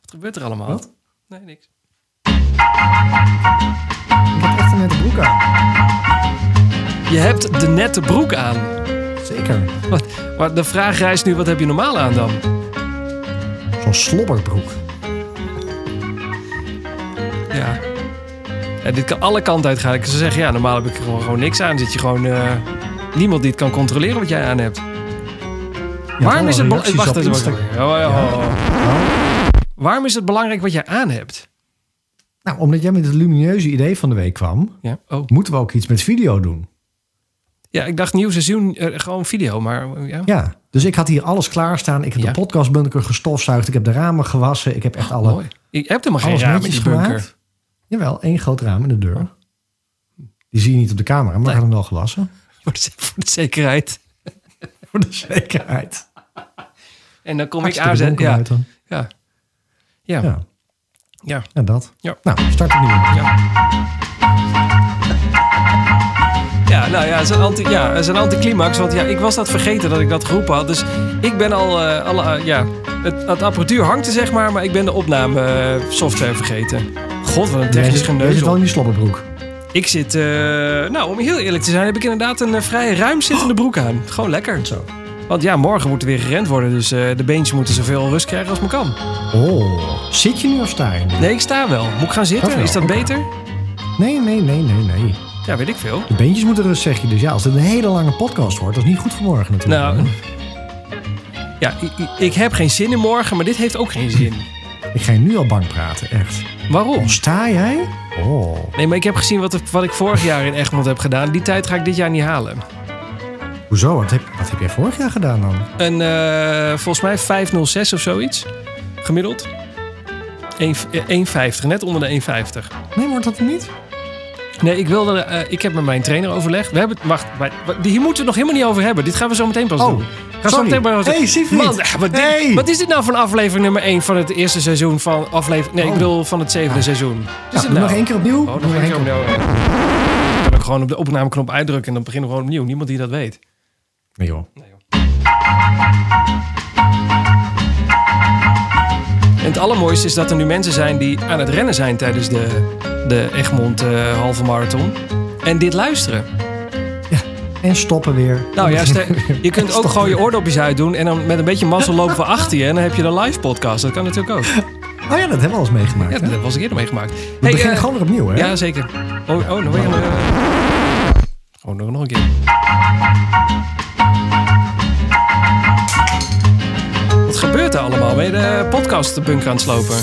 Wat gebeurt er allemaal? Wat? Nee, niks. Ik heb echt een nette broek aan. Je hebt de nette broek aan. Zeker. Wat, maar de vraag rijst nu, wat heb je normaal aan dan? Zo'n slobberbroek. Ja. Ja, dit kan alle kanten uit gaan. Ze zeggen, ja, normaal heb ik er gewoon, gewoon niks aan. Zit je gewoon... eh, niemand die het kan controleren wat jij aan hebt. Ja, Waarom alle is het... bela- reacties Wacht op even. wacht Insta- even. Oh, Ja, ja, ja. oh. Waarom is het belangrijk wat jij aan hebt? Nou, omdat jij met het lumineuze idee van de week kwam, Ja. Oh. moeten we ook iets met video doen. Ja, ik dacht nieuw seizoen, eh, gewoon video, maar eh, ja. Ja. Dus ik had hier alles klaarstaan. Ik heb Ja. de podcastbunker gestofzuigd. Ik heb de ramen gewassen. Ik heb echt alle, Mooi. Ik heb er maar geen alles raam in netjes die bunker. gemaakt. Jawel, één groot raam in de deur. Die zie je niet op de camera, maar we Nee. hadden hem wel gewassen. Voor de, voor de zekerheid. Voor de zekerheid. En dan kom Hartstikke ik aanzetten. donker Ja. buiten. Ja. Ja. ja. Ja. Ja, dat. Ja. Nou, start opnieuw. Ja, nou ja, het is een, anti, ja, het is een anticlimax. Want ja, ik was dat vergeten dat ik dat geroepen had. Dus ik ben al... eh, alle, eh, ja, het, het apparatuur hangt er, zeg maar. Maar ik ben de opname eh, software vergeten. God, wat een Jij technisch zit- jij zit wel geneuzel. in die slobberbroek. Ik zit... eh, nou, om heel eerlijk te zijn... heb ik inderdaad een eh, vrij ruim zittende broek aan. Gewoon lekker. Zo. Want ja, morgen moet er weer gerend worden. Dus eh, de beentjes moeten zoveel rust krijgen als maar kan. Oh, zit je nu of sta je nu? Nee, ik sta wel. Moet ik gaan Dat zitten? wel. Is dat beter? Nee, nee, nee, nee, nee. Ja, weet ik veel. De beentjes moeten rust, zeg je. Dus ja, als dit een hele lange podcast wordt, dat is niet goed voor morgen natuurlijk. Nou, Ja, i- i- ik, heb geen zin in morgen, maar dit heeft ook geen zin. Ik ga je nu al bang praten, echt. Waarom? Oh, sta jij? Oh, Nee, maar ik heb gezien wat, wat ik vorig jaar in Egmond heb gedaan. Die tijd ga ik dit jaar niet halen. hoezo? Wat heb, wat heb jij vorig jaar gedaan dan? Een, eh, volgens mij 506 of zoiets. Gemiddeld. Een- eh, 1,50. Net onder de 1,50. Nee, wordt dat niet? Nee, ik wilde... eh, ik heb met mijn trainer overlegd. We hebben... het- Wacht, maar, maar hier moeten we het nog helemaal niet over hebben. Dit gaan we zo meteen pas Oh, doen. Ga zo sorry. meteen pas Hey, Siegfried. Man, eh, wat, dit- Hey. wat is dit nou van aflevering nummer 1 van het eerste seizoen van aflevering... Nee, ik Oh. bedoel van het zevende seizoen. Wat Is Nou, dit doe nou? nog één keer opnieuw. Oh, Doe nog nog een keer één keer opnieuw. Dan kan ik gewoon op de opnameknop uitdrukken en dan beginnen we gewoon opnieuw. Niemand die dat weet. Nee joh. En het allermooiste is dat er nu mensen zijn die aan het rennen zijn tijdens de, de Egmond eh, halve marathon. En dit luisteren. En stoppen weer. Nou ja, stel. stel- je kunt ook gewoon je oordopjes uitdoen en dan met een beetje massa lopen we achter je. En dan heb je de live podcast. Dat kan natuurlijk ook. Oh ja, dat hebben we al eens meegemaakt. Ja, hè? dat was ik eerder meegemaakt. We beginnen eh, gewoon weer opnieuw, hè? Ja, zeker. Oh, oh nog een eh Oh, nog, nog een keer. Wat gebeurt er allemaal? Ben je de podcast de bunker aan het slopen?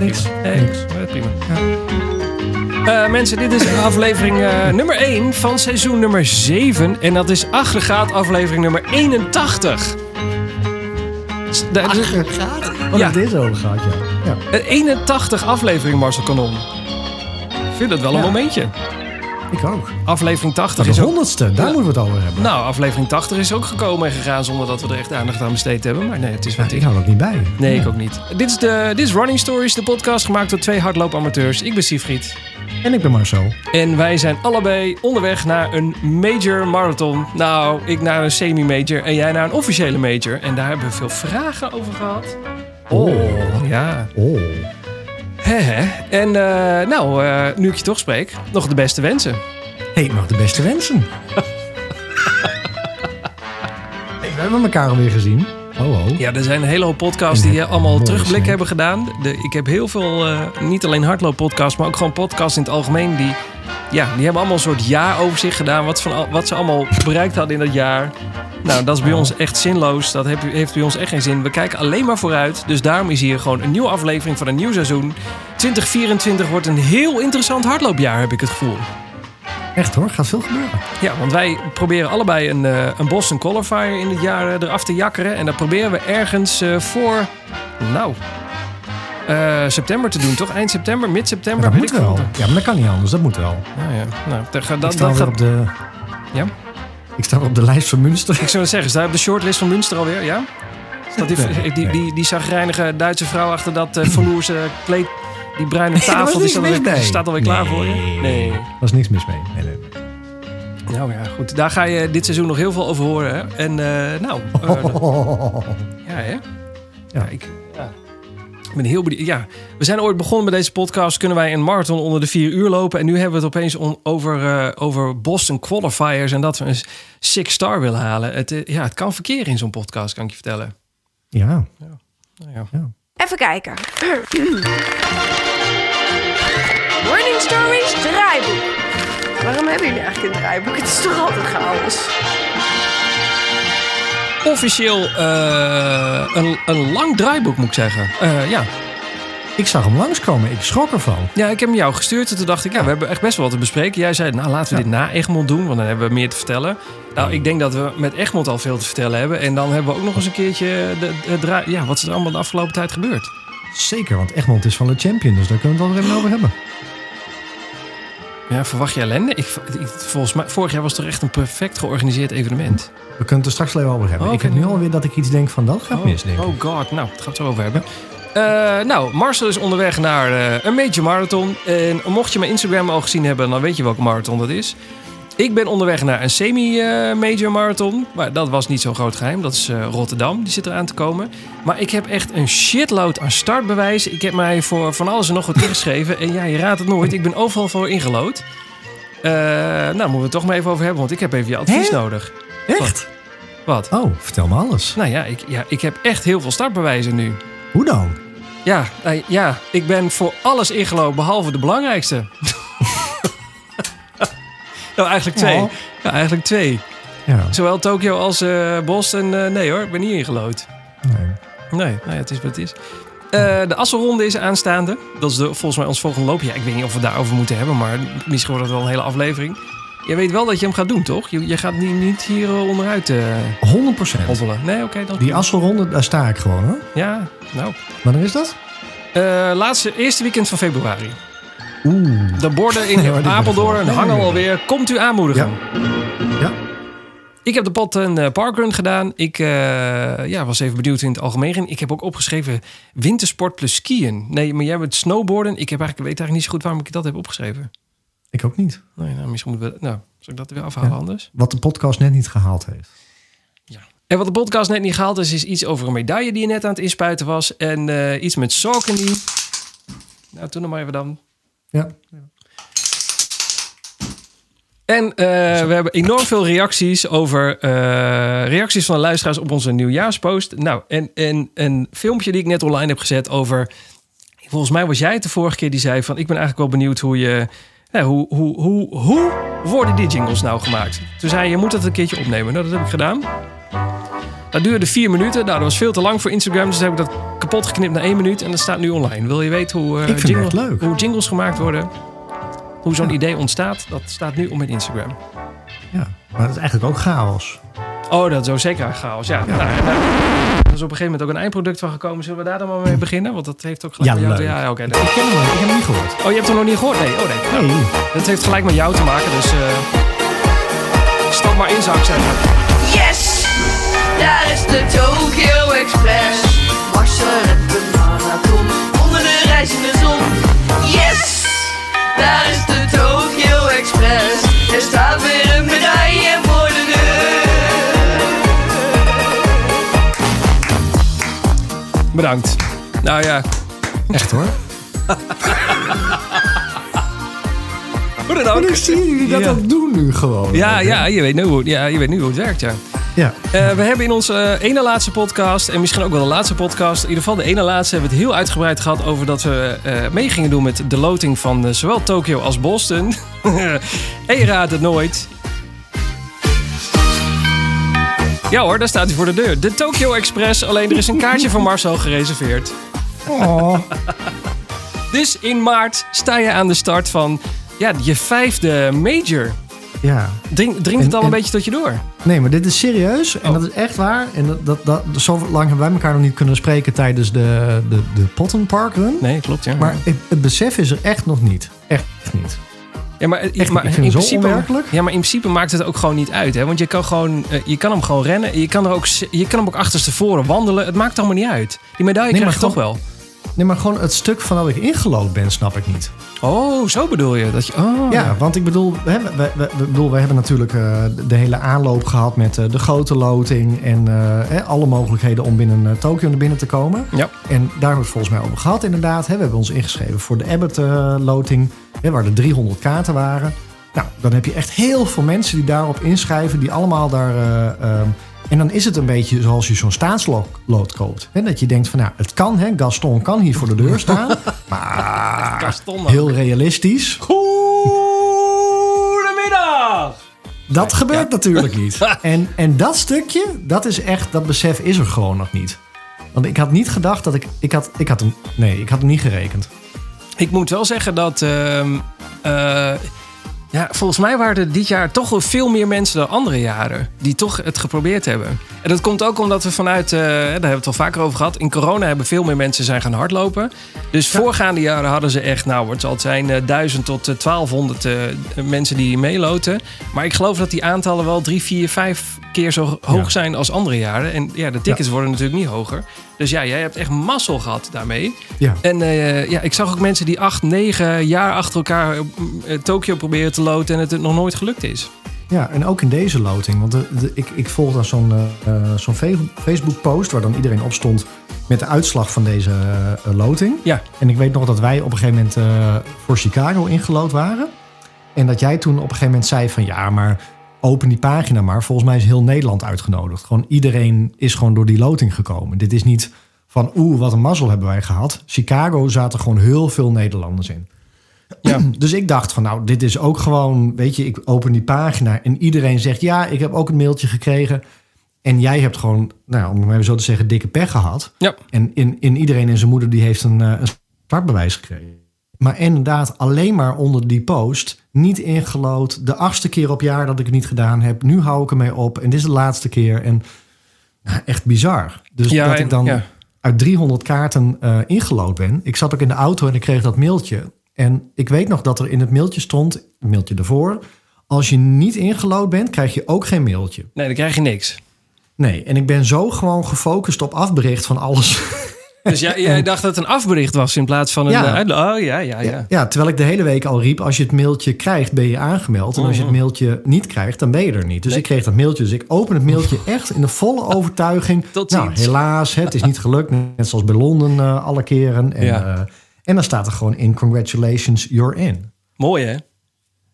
niks. Nee, niks. eh, prima. Eh, mensen, dit is aflevering eh, nummer 1 van seizoen nummer 7. En dat is aggregaat aflevering nummer 81. S- de- Oh, Ja. dat is over gehad, ja. ja. de 81 aflevering, Marcel Kanon. Ik vind dat wel een Ja. momentje. Ik ook. Aflevering Dat 80 is is de ook... honderdste, daar Ja. moeten we het over hebben. Nou, aflevering 80 is ook gekomen en gegaan zonder dat we er echt aandacht aan besteed hebben. Maar nee, het is wat Nou, het ik is. hou dat niet bij. Nee, ik ook niet. Dit is, de, dit is Running Stories, de podcast gemaakt door twee hardloopamateurs. Ik ben Siegfried. En ik ben Marcel. En wij zijn allebei onderweg naar een major marathon. Nou, ik naar een semi-major en jij naar een officiële major. En daar hebben we veel vragen over gehad. Oh. Ja. Oh. Hè, hè. En eh, nou, eh, nu ik je toch spreek, nog de beste wensen. Hey, nog de beste wensen. hey, we hebben elkaar alweer gezien. Oh, oh. Ja, er zijn een hele hoop podcasts die eh, allemaal Mooi, terugblik zeg. hebben gedaan. De, ik heb heel veel, eh, niet alleen hardlooppodcasts, maar ook gewoon podcasts in het algemeen. Die, ja, die hebben allemaal een soort jaaroverzicht gedaan. Wat, van, al- wat ze allemaal bereikt hadden in dat jaar. Nou, dat is bij ons echt zinloos. Dat heb- heeft bij ons echt geen zin. We kijken alleen maar vooruit. Dus daarom is hier gewoon een nieuwe aflevering van een nieuw seizoen. 2024 wordt een heel interessant hardloopjaar, heb ik het gevoel. Echt hoor, gaat veel gebeuren. Ja, want wij proberen allebei een, eh, een Boston Qualifier in het jaar eh, eraf te jakkeren. En dat proberen we ergens eh, voor, nou, eh, september te doen, toch? Eind september, Maar mid-september? dat weet moet ik veel. wel. Ja, maar dat kan niet anders. Dat moet wel. Nou ja, nou, dat, gaat- ik dat, sta dat weer gaat... op de... Ja? Ik sta weer op de lijst van Münster. Ik zou het zeggen, staat op de shortlist van Münster alweer, ja? Staat die, Nee, die, die, nee. die, die zagrijnige Duitse vrouw achter dat eh verloerse kleed, die bruine Nee, daar was tafel, die niks staat mis alweer, mee. staat alweer klaar voor je? Nee. Daar is niks mis mee. Nee, nee. Nou ja, goed. Daar ga je dit seizoen nog heel veel over horen, hè? En eh, nou, eh, Oh, ja hè? Ja. ik, ja. ik ben heel benieuwd. Ja, we zijn ooit begonnen met deze podcast. Kunnen wij een marathon onder de vier uur lopen? En nu hebben we het opeens on- over, eh, over Boston qualifiers en dat we een s- six star willen halen. Het, eh, ja, het kan verkeer in zo'n podcast, kan ik je vertellen. Ja. Nou ja. Even kijken. Morning Stories draaiboek. Waarom hebben jullie eigenlijk een draaiboek? Het is toch altijd chaos? Officieel eh, een, een lang draaiboek, moet ik zeggen. Eh, ja. Ik zag hem langskomen. Ik schrok ervan. ja, ik heb hem jou gestuurd en toen dacht ik, ja, we hebben echt best wel wat te bespreken. Jij zei, nou laten we Ja. dit na Egmond doen, want dan hebben we meer te vertellen. Nou, ik denk dat we met Egmond al veel te vertellen hebben. En dan hebben we ook nog eens een keertje de, de draai- ja, wat is er allemaal de afgelopen tijd gebeurd. Zeker, want Egmond is van de champion. Dus daar kunnen we het wel weer even over hebben. Ja, verwacht je ellende? Ik, ik- volgens mij, vorig jaar was het toch echt een perfect georganiseerd evenement. We kunnen het er straks wel over hebben. Oh, ik heb oké. nu alweer dat ik iets denk van dat gaat oh, mis, denk ik. Oh god, nou, het gaat het zo over hebben. Eh, nou, Marcel is onderweg naar eh, een major marathon. En mocht je mijn Instagram al gezien hebben, dan weet je welke marathon dat is. Ik ben onderweg naar een semi-major marathon. Maar dat was niet zo'n groot geheim. Dat is eh, Rotterdam, die zit eraan te komen. Maar ik heb echt een shitload aan startbewijs. Ik heb mij voor van alles en nog wat ingeschreven. En ja, je raadt het nooit. Ik ben overal voor ingelood. Eh, nou, daar moeten we het toch maar even over hebben. Want ik heb even je advies Hè? nodig. Echt? Wat? Oh, vertel me alles. Nou ja ik, ja, ik heb echt heel veel startbewijzen nu. Hoe dan? Ja, nou ja, ik ben voor alles ingelopen behalve de belangrijkste. nou, eigenlijk twee. Oh. Ja, eigenlijk twee. Ja, Zowel Tokio als eh, Boston. eh, nee hoor, ik ben niet ingelood. nee. Nee, nou ja, het is wat het is. Eh, de Asselronde is aanstaande. Dat is de, volgens mij ons volgende loopje. Ja, ik weet niet of we het daarover moeten hebben, maar misschien wordt dat wel een hele aflevering. Je weet wel dat je hem gaat doen, toch? Je, je gaat niet, niet hier eh, onderuit eh 100 procent. hobbelen. Nee, oké, dan... Die Asselronde, daar sta ik gewoon hoor. Ja, nou... Wanneer is dat? Eh, laatste, eerste weekend van februari. Oeh. De borden in Ja, maar dit Apeldoorn wordt wel. hangen Nee. alweer. Komt u aanmoedigen. Ja. Ik heb de pot een eh, parkrun gedaan. Ik eh, ja, was even benieuwd in het algemeen. Ik heb ook opgeschreven wintersport plus skiën. Nee, maar jij hebt snowboarden. Ik heb eigenlijk, weet eigenlijk niet zo goed waarom ik dat heb opgeschreven. Ik ook niet. Nee, nou, misschien moeten we... Nou, zal ik dat er weer afhalen Ja. anders? Wat de podcast net niet gehaald heeft. En wat de podcast net niet gehaald is, is iets over een medaille die je net aan het inspuiten was. En eh, iets met Saucony. Nou, toen nog maar even dan. Ja. En eh, we hebben enorm veel reacties over eh, reacties van de luisteraars op onze nieuwjaarspost. Nou, en, en een filmpje die ik net online heb gezet over. Volgens mij was jij het de vorige keer die zei van ik ben eigenlijk wel benieuwd hoe je. Nou, hoe, hoe, hoe, hoe worden die jingles nou gemaakt? Toen zei je, je moet dat een keertje opnemen. Nou, dat heb ik gedaan. Dat duurde vier minuten. Nou, dat was veel te lang voor Instagram. Dus heb ik dat kapot geknipt naar één minuut. En dat staat nu online. Wil je weten hoe, eh, Ik vind het echt leuk. hoe jingles gemaakt worden? Hoe zo'n idee ontstaat? Dat staat nu op mijn Instagram. ja. Maar het is eigenlijk ook chaos. Oh, dat is ook zeker een chaos. Ja, Nou, en daar- er is op een gegeven moment ook een eindproduct van gekomen. Zullen we daar dan maar mee beginnen? Want dat heeft ook gelijk Ja, met jou te leuk. Ja, oké. nee. Ik ken hem niet. Ik heb hem niet gehoord. Oh, je hebt hem nog niet gehoord? Nee. Oh, nee. Nou, Nee. Dat heeft gelijk met jou te maken. Dus eh stap maar in, zou ik zeggen. Yes! Daar is de Tokyo Express. Marcel redt een marathon onder de reizende zon. Yes! Daar is de Tokyo Express. Er staat weer een medaille voor de deur. Bedankt. Nou ja, Echt hoor. hoe dan ook. ik zie jullie dat Ja. ook doen nu gewoon. Ja, ja, je weet nu hoe, ja, je weet nu hoe het werkt, ja. Ja. Eh, we hebben in onze eh, ene laatste podcast, en misschien ook wel de laatste podcast, in ieder geval de ene laatste, hebben we het heel uitgebreid gehad over dat we eh, mee gingen doen met de loting van eh, zowel Tokio als Boston. en je raadt het nooit. Ja hoor, daar staat hij voor de deur. De Tokyo Express, alleen er is een kaartje voor Marcel gereserveerd. Oh. Dus in maart sta je aan de start van ja, je vijfde major. Ja. Dring, dringt het En- al een en- beetje tot je door? Nee, maar dit is serieus. En Oh. dat is echt waar. En dat, dat, dat, zo lang hebben wij elkaar nog niet kunnen spreken tijdens de, de, de Pottenpark Run. Nee, klopt ja. Maar het, het besef is er echt nog niet. Echt niet. Ja, maar, Echt, maar ik vind het zo onwerkelijk. Ja, maar in principe maakt het ook gewoon niet uit. Hè? Want je kan, gewoon, eh, je kan hem gewoon rennen. Je kan, er ook, s- je kan hem ook achterstevoren wandelen. Het maakt allemaal niet uit. Die medaille Nee, krijg je maar toch wel. Nee, maar gewoon het stuk van dat ik ingelood ben, snap ik niet. Oh, zo bedoel je? Dat je oh, Ja, want ik bedoel, hè, we, we, we- we bedoel, we hebben natuurlijk eh, de hele aanloop gehad met eh, de grote loting en eh, hè, alle mogelijkheden om binnen eh, Tokio naar binnen te komen. Ja. En daar hebben we het volgens mij over gehad, inderdaad. hè. We hebben ons ingeschreven voor de Abbott-loting, waar er 300 kaarten waren. Nou, dan heb je echt heel veel mensen die daarop inschrijven, die allemaal daar. eh, ehm, en dan is het een beetje zoals je zo'n staatslood koopt. hè. dat je denkt van, nou, het kan, hè? Gaston kan hier voor de deur staan. maar Gaston ook. Ah, heel realistisch. Goedemiddag! Dat gebeurt natuurlijk niet. En, en dat stukje, dat is echt, dat besef is er gewoon nog niet. Want ik had niet gedacht dat ik, ik had, ik had hem, nee, ik had hem niet gerekend. Ik moet wel zeggen dat. ehm, eh, ja, volgens mij waren er dit jaar toch wel veel meer mensen dan andere jaren. die toch het geprobeerd hebben. En dat komt ook omdat we vanuit. eh, daar hebben we het al vaker over gehad. In corona hebben veel meer mensen zijn gaan hardlopen. Dus voorgaande jaren hadden ze echt. Nou, wat zal het zijn? eh, 1000 tot eh, 1200 eh, mensen die meeloten. Maar ik geloof dat die aantallen wel drie, vier, vijf keer zo hoog Ja. zijn als andere jaren. En ja, de tickets worden natuurlijk niet hoger. Dus ja, jij hebt echt mazzel gehad daarmee. Ja. En eh, ja, ik zag ook mensen die acht, negen jaar achter elkaar eh, eh, Tokio proberen te loten en het nog nooit gelukt is. Ja, en ook in deze loting. Want de- de- ik, ik volg dan zo'n eh, eh, zo'n fe- Facebook-post waar dan iedereen op stond met de uitslag van deze eh, eh, loting. Ja. En ik weet nog dat wij op een gegeven moment eh, voor Chicago ingelood waren. En dat jij toen op een gegeven moment zei van ja, maar open die pagina maar. Volgens mij is heel Nederland uitgenodigd. Gewoon iedereen is gewoon door die loting gekomen. Dit is niet van oeh, wat een mazzel hebben wij gehad. Chicago zaten gewoon heel veel Nederlanders in. Ja. Dus ik dacht van nou, dit is ook gewoon, weet je, ik open die pagina en iedereen zegt ja, ik heb ook een mailtje gekregen. En jij hebt gewoon, nou, om het maar even zo te zeggen, dikke pech gehad. Ja, En in, in iedereen en zijn moeder die heeft een, eh, een startbewijs gekregen. Maar inderdaad, alleen maar onder die post. Niet ingelood. De achtste keer op jaar dat ik het niet gedaan heb. Nu hou ik ermee op. En dit is de laatste keer. En nou, echt bizar. Dus ja, dat en- ik dan ja. uit 300 kaarten eh, ingelood ben. Ik zat ook in de auto en ik kreeg dat mailtje. En ik weet nog dat er in het mailtje stond, een mailtje ervoor. Als je niet ingelood bent, krijg je ook geen mailtje. Nee, dan krijg je niks. Nee, en ik ben zo gewoon gefocust op afbericht van alles Dus jij, jij dacht dat het een afbericht was in plaats van een Ja. eh, uitla- Oh ja, ja, ja. Ja. terwijl ik de hele week al riep: als je het mailtje krijgt, ben je aangemeld. En als je het mailtje niet krijgt, dan ben je er niet. Dus Mhm. Nee. ik kreeg dat mailtje. Dus ik open het mailtje echt in de volle overtuiging. Tot nou, ziens. helaas, hè, het is niet gelukt. Net zoals bij Londen eh, alle keren. En, Ja. eh, en dan staat er gewoon in: Congratulations, you're in. Mooi hè?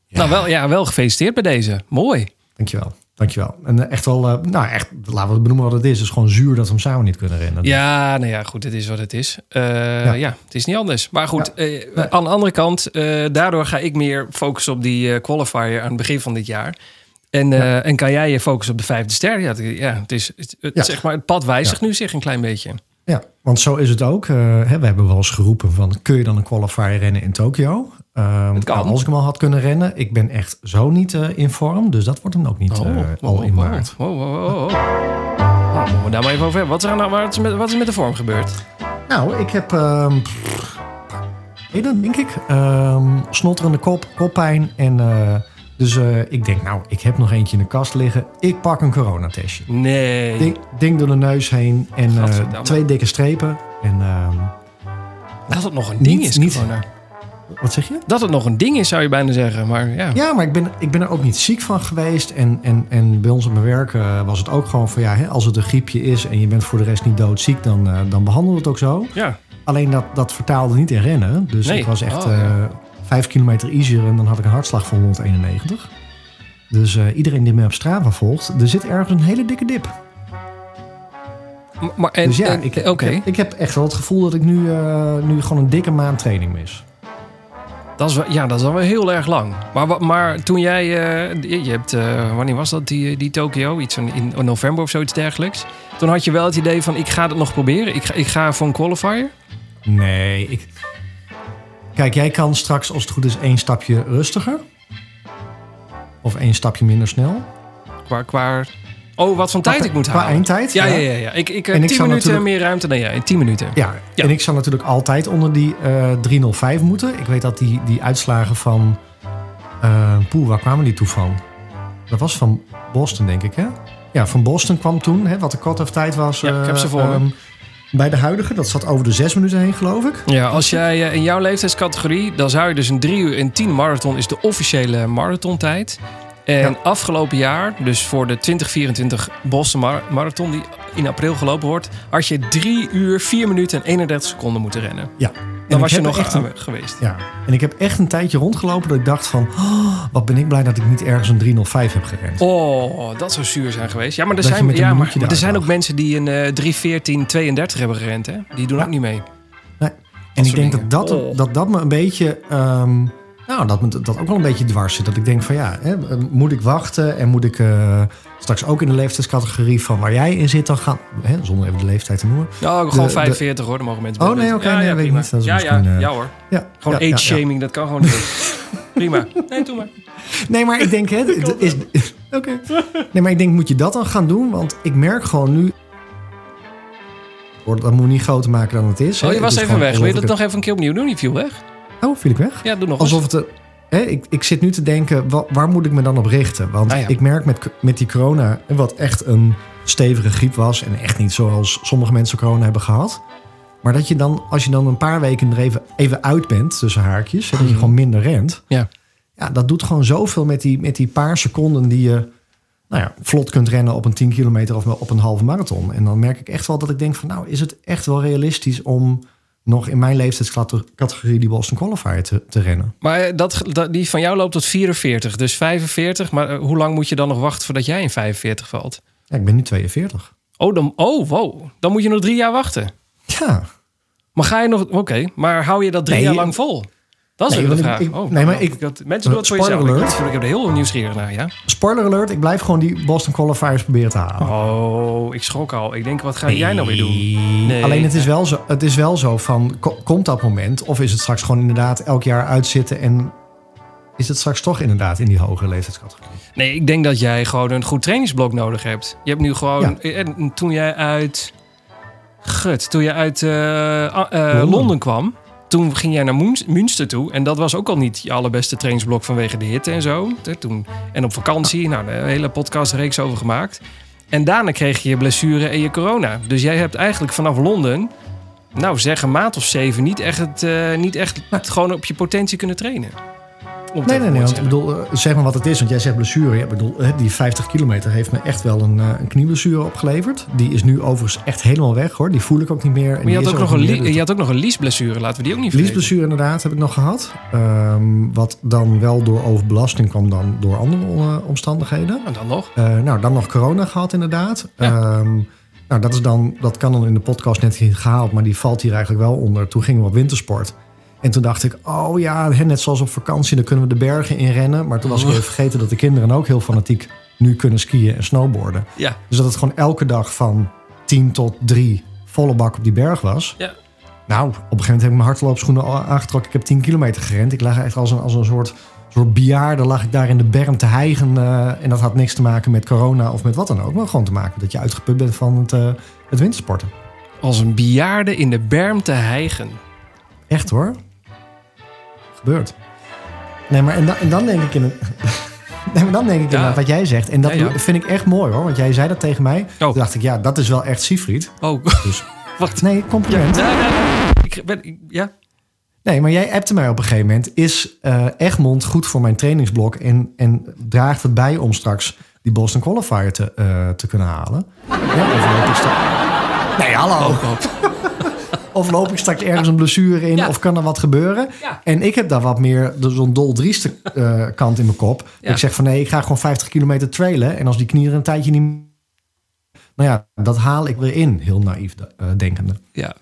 Nou, wel, ja, wel gefeliciteerd bij deze. Mooi. Dankjewel. Dankjewel. En eh, echt wel, eh, nou echt, laten we het benoemen wat het is. Het is gewoon zuur dat we hem samen niet kunnen rennen. Ja, nou ja, goed, het is wat het is. Eh, ja. het is niet anders. Maar goed, eh, aan de andere kant, eh, daardoor ga ik meer focussen op die eh, qualifier aan het begin van dit jaar. En, eh, en kan jij je focussen op de vijfde ster? Ja, het, ja, het is het, het- Ja. Zeg maar, het pad wijzigt nu zich een klein beetje. Ja, want zo is het ook. Eh, hè, we hebben wel eens geroepen van... kun je dan een qualifier rennen in Tokio? Ehm, Het kan. nou, als ik hem al had kunnen rennen. Ik ben echt zo niet eh, in vorm. Dus dat wordt hem ook niet eh, al in maart. Oh, oh, oh, oh. Nou, moeten we daar maar even over hebben. Wat is, er nou, wat, is met, wat is met de vorm gebeurd? Nou, ik heb... ehm pff, heden, denk ik. Ehm, snotterende kop, koppijn. En, eh, dus eh, ik denk, nou, ik heb nog eentje in de kast liggen. Ik pak een coronatestje. Nee. Ding, ding door de neus heen. En eh, Gadverdamme. twee dikke strepen. En ehm, dat het nog een ding Niet- is, niet- corona. wat zeg je? Dat het nog een ding is, zou je bijna zeggen. Maar ja. Ja, maar ik ben, ik ben er ook niet ziek van geweest. En, en, en bij ons op mijn werk eh, was het ook gewoon van ja, hè, als het een griepje is en je bent voor de rest niet doodziek, dan, eh, dan behandelen we het ook zo. ja. Alleen dat, dat vertaalde niet in rennen. Dus Nee. ik was echt Oh, eh, ja. vijf kilometer easier en dan had ik een hartslag van 191. Dus eh, iedereen die mij op Strava volgt, er zit ergens een hele dikke dip. M- Maar, en, dus ja, en- ik, oké. ik, heb, ik heb echt wel het gevoel dat ik nu, eh, nu gewoon een dikke maand training mis. Dat is wel, ja, dat is dan wel heel erg lang. Maar, wa- maar toen jij... eh, je je hebt, eh, wanneer was dat, die, die Tokio? Iets in, in november of zoiets dergelijks. Toen had je wel het idee van, ik ga het nog proberen. Ik ga, ik ga voor een qualifier. Nee, ik... Kijk, jij kan straks als het goed is één stapje rustiger. Of één stapje minder snel. Qua, qua, oh, wat van tijd Qua- ik moet qua halen. eindtijd, Ja, ja, ja. ja. ja. Ik, ik, eh, En ik 10 minuten zou natuurlijk- meer ruimte dan jij. 10 minuten. Ja, Ja. en ik zal natuurlijk altijd onder die eh 305 moeten. Ik weet dat die, die uitslagen van... eh poeh, waar kwamen die toe van? Dat was van Boston, denk ik, hè? Ja, van Boston kwam toen, hè, wat de cut-off tijd was. Ja, ik eh, heb ze voor me. ehm, Bij de huidige, dat zat over de zes minuten heen, geloof ik. Ja, als jij eh, in jouw leeftijdscategorie, dan zou je dus een 3 uur en 10 marathon is de officiële marathontijd. En Ja. afgelopen jaar, dus voor de 2024 Boston Mar- Marathon die in april gelopen wordt, had je 3 uur 4 minuten en 31 seconden moeten rennen. Ja. En Dan ik was je heb nog eh, echt een, aan- geweest. ja. En ik heb echt een tijdje rondgelopen dat ik dacht van... "Oh, wat ben ik blij dat ik niet ergens een 305 heb gerend. Oh, dat zou zuur zijn geweest. Ja, maar er Dat je zijn, met een ja, maar, minuutje maar er daar zijn ook lag. mensen die een eh 314 32 hebben gerend. Hè? Die doen Ja. ook niet mee. Nee. En ik soort denk dingen. dat dat, Oh. dat dat me een beetje... ehm, nou, dat me dat ook wel een beetje dwars zit. Dat ik denk van ja, hè, moet ik wachten? En moet ik eh, straks ook in de leeftijdscategorie van waar jij in zit dan gaan... Hè, zonder even de leeftijd te noemen. Nou, De- gewoon de- 45 hoor, daar mogen mensen Oh, bij nee, weten. oké, nee, weet ik prima. niet. Dat is ja, ja, misschien, eh, ja hoor. Ja, Gewoon ja, ja, age ja. shaming, dat kan gewoon niet. prima. Nee, doe maar. Nee, maar ik denk, hè, het is. Oké. Nee, maar ik denk, moet je dat dan gaan doen? Want ik merk gewoon nu. Hoor, Dat moet niet groter maken dan het is. Oh, hè. je Het was is even gewoon weg. Wil je dat alsof nog even een keer opnieuw doen? Die viel weg. ik- Oh, viel ik weg? Ja, doe nog Alsof het. er- Hè, ik, ik zit nu te denken, wa- waar moet ik me dan op richten? Want Ah, ja. ik merk met, met die corona, wat echt een stevige griep was. En echt niet zoals sommige mensen corona hebben gehad. Maar dat je dan, als je dan een paar weken er even, even uit bent, tussen haakjes. hè, Dat je gewoon minder rent. eens. Mhm. Ja. Ja, dat doet gewoon zoveel met die, met die paar seconden die je nou ja, vlot kunt rennen op een 10 kilometer of wel op een halve marathon. En dan merk ik echt wel dat ik denk van nou, is het echt wel realistisch om nog in mijn leeftijdscategorie die Boston Qualifier te, te rennen? Maar eh, dat, dat- die van jou loopt tot 44, dus 45. Maar eh, hoe lang moet je dan nog wachten voordat jij in 45 valt? Ja, ik ben nu 42. Oh, dan, oh wow. Dan moet je nog drie jaar wachten. Ja, Maar ga je nog... Oké, maar hou je dat drie Nee, jaar je- lang vol? Dat is Nee, even de want ik- vraag. ik- oh, nee, maar nou, ik- dat, mensen doen het voor spoiler jezelf. Ik, alert. ik ben er heel nieuwsgierig naar, ja. spoiler alert, ik blijf gewoon die Boston Qualifiers proberen te halen. Oh, ik schrok al. Ik denk, wat ga jij nou weer doen? Nee. Alleen het is, wel zo, het is wel zo van, ko- komt dat moment? Of is het straks gewoon inderdaad elk jaar uitzitten en is het straks toch inderdaad in die hogere leeftijdscategorie? Nee, ik denk dat jij gewoon een goed trainingsblok nodig hebt. Je hebt nu gewoon. eh, En toen jij uit. Gut, toen jij uit eh, ah, eh, Londen. Londen. kwam. Toen ging jij naar Moens- Münster toe. En dat was ook al niet je allerbeste trainingsblok vanwege de hitte en zo. Hè, Toen, en op vakantie. Nou, de hele podcastreeks over gemaakt. En daarna kreeg je je blessure en je corona. Dus jij hebt eigenlijk vanaf Londen. Nou, zeg een maand of zeven. Niet echt, het, eh, niet echt het gewoon op je potentie kunnen trainen. Om het Nee, even nee, nee. mooi te Want ik zeggen. bedoel, eh, zeg maar wat het is. Want jij zegt blessure. Ja, ik bedoel, hè, die 50 kilometer heeft me echt wel een, eh, een knieblessure opgeleverd. Die is nu overigens echt helemaal weg hoor. Die voel ik ook niet meer. En Maar je had, die ook is nog er een, niet li- meer. je had ook nog een liesblessure, laten we die ook niet vergeten. Liesblessure inderdaad heb ik nog gehad. Ehm, wat dan wel door overbelasting kwam dan door andere eh, omstandigheden. Nou, dan nog. Eh, nou, dan nog corona gehad inderdaad. Ehm, nou, dat, is dan, dat kan dan in de podcast net niet gehaald, maar die valt hier eigenlijk wel onder. Toen gingen we op wintersport. En toen dacht ik, oh ja, hè, net zoals op vakantie, dan kunnen we de bergen in rennen. Maar toen was ik even vergeten dat de kinderen ook heel fanatiek nu kunnen skiën en snowboarden. Ja. Dus dat het gewoon elke dag van 10 tot 3 volle bak op die berg was. Ja. Nou, op een gegeven moment heb ik mijn hardloopschoenen al aangetrokken. Ik heb 10 kilometer gerend. Ik lag echt als een, als een soort, soort bejaarde lag ik daar in de berm te hijgen. eh, en dat had niks te maken met corona of met wat dan ook. Maar gewoon te maken dat je uitgeput bent van het, eh, het wintersporten. Als een bejaarde in de berm te hijgen. Echt hoor. Gebeurt. Nee, maar en, dan- en dan denk ik in een... Nee, maar dan denk ik Ja. inderdaad wat jij zegt. En dat Ja, Oh. ja. vind ik echt mooi hoor. Want jij zei dat tegen mij. Toen dacht ik, ja, dat is wel echt Siegfried. Oh, Dus- wacht. Nee, compliment. Ja, ja, ja. Ik ben, ik- ja. Nee, maar jij appte mij op een gegeven moment. Is eh, Egmond goed voor mijn trainingsblok? En, en draagt het bij om straks die Boston Qualifier te, eh, te kunnen halen? Ja, of loop ik straks... Nee, hallo. Of loop ik straks ergens een blessure in? Ja. Of kan er wat gebeuren? Ja. En ik heb daar wat meer de- zo'n doldrieste eh, kant in mijn kop. Ja. Ik zeg van nee, ik ga gewoon 50 kilometer trailen. En als die knieën een tijdje niet... Nou ja, dat haal ik weer in. Heel naïef eh, denkende. ja.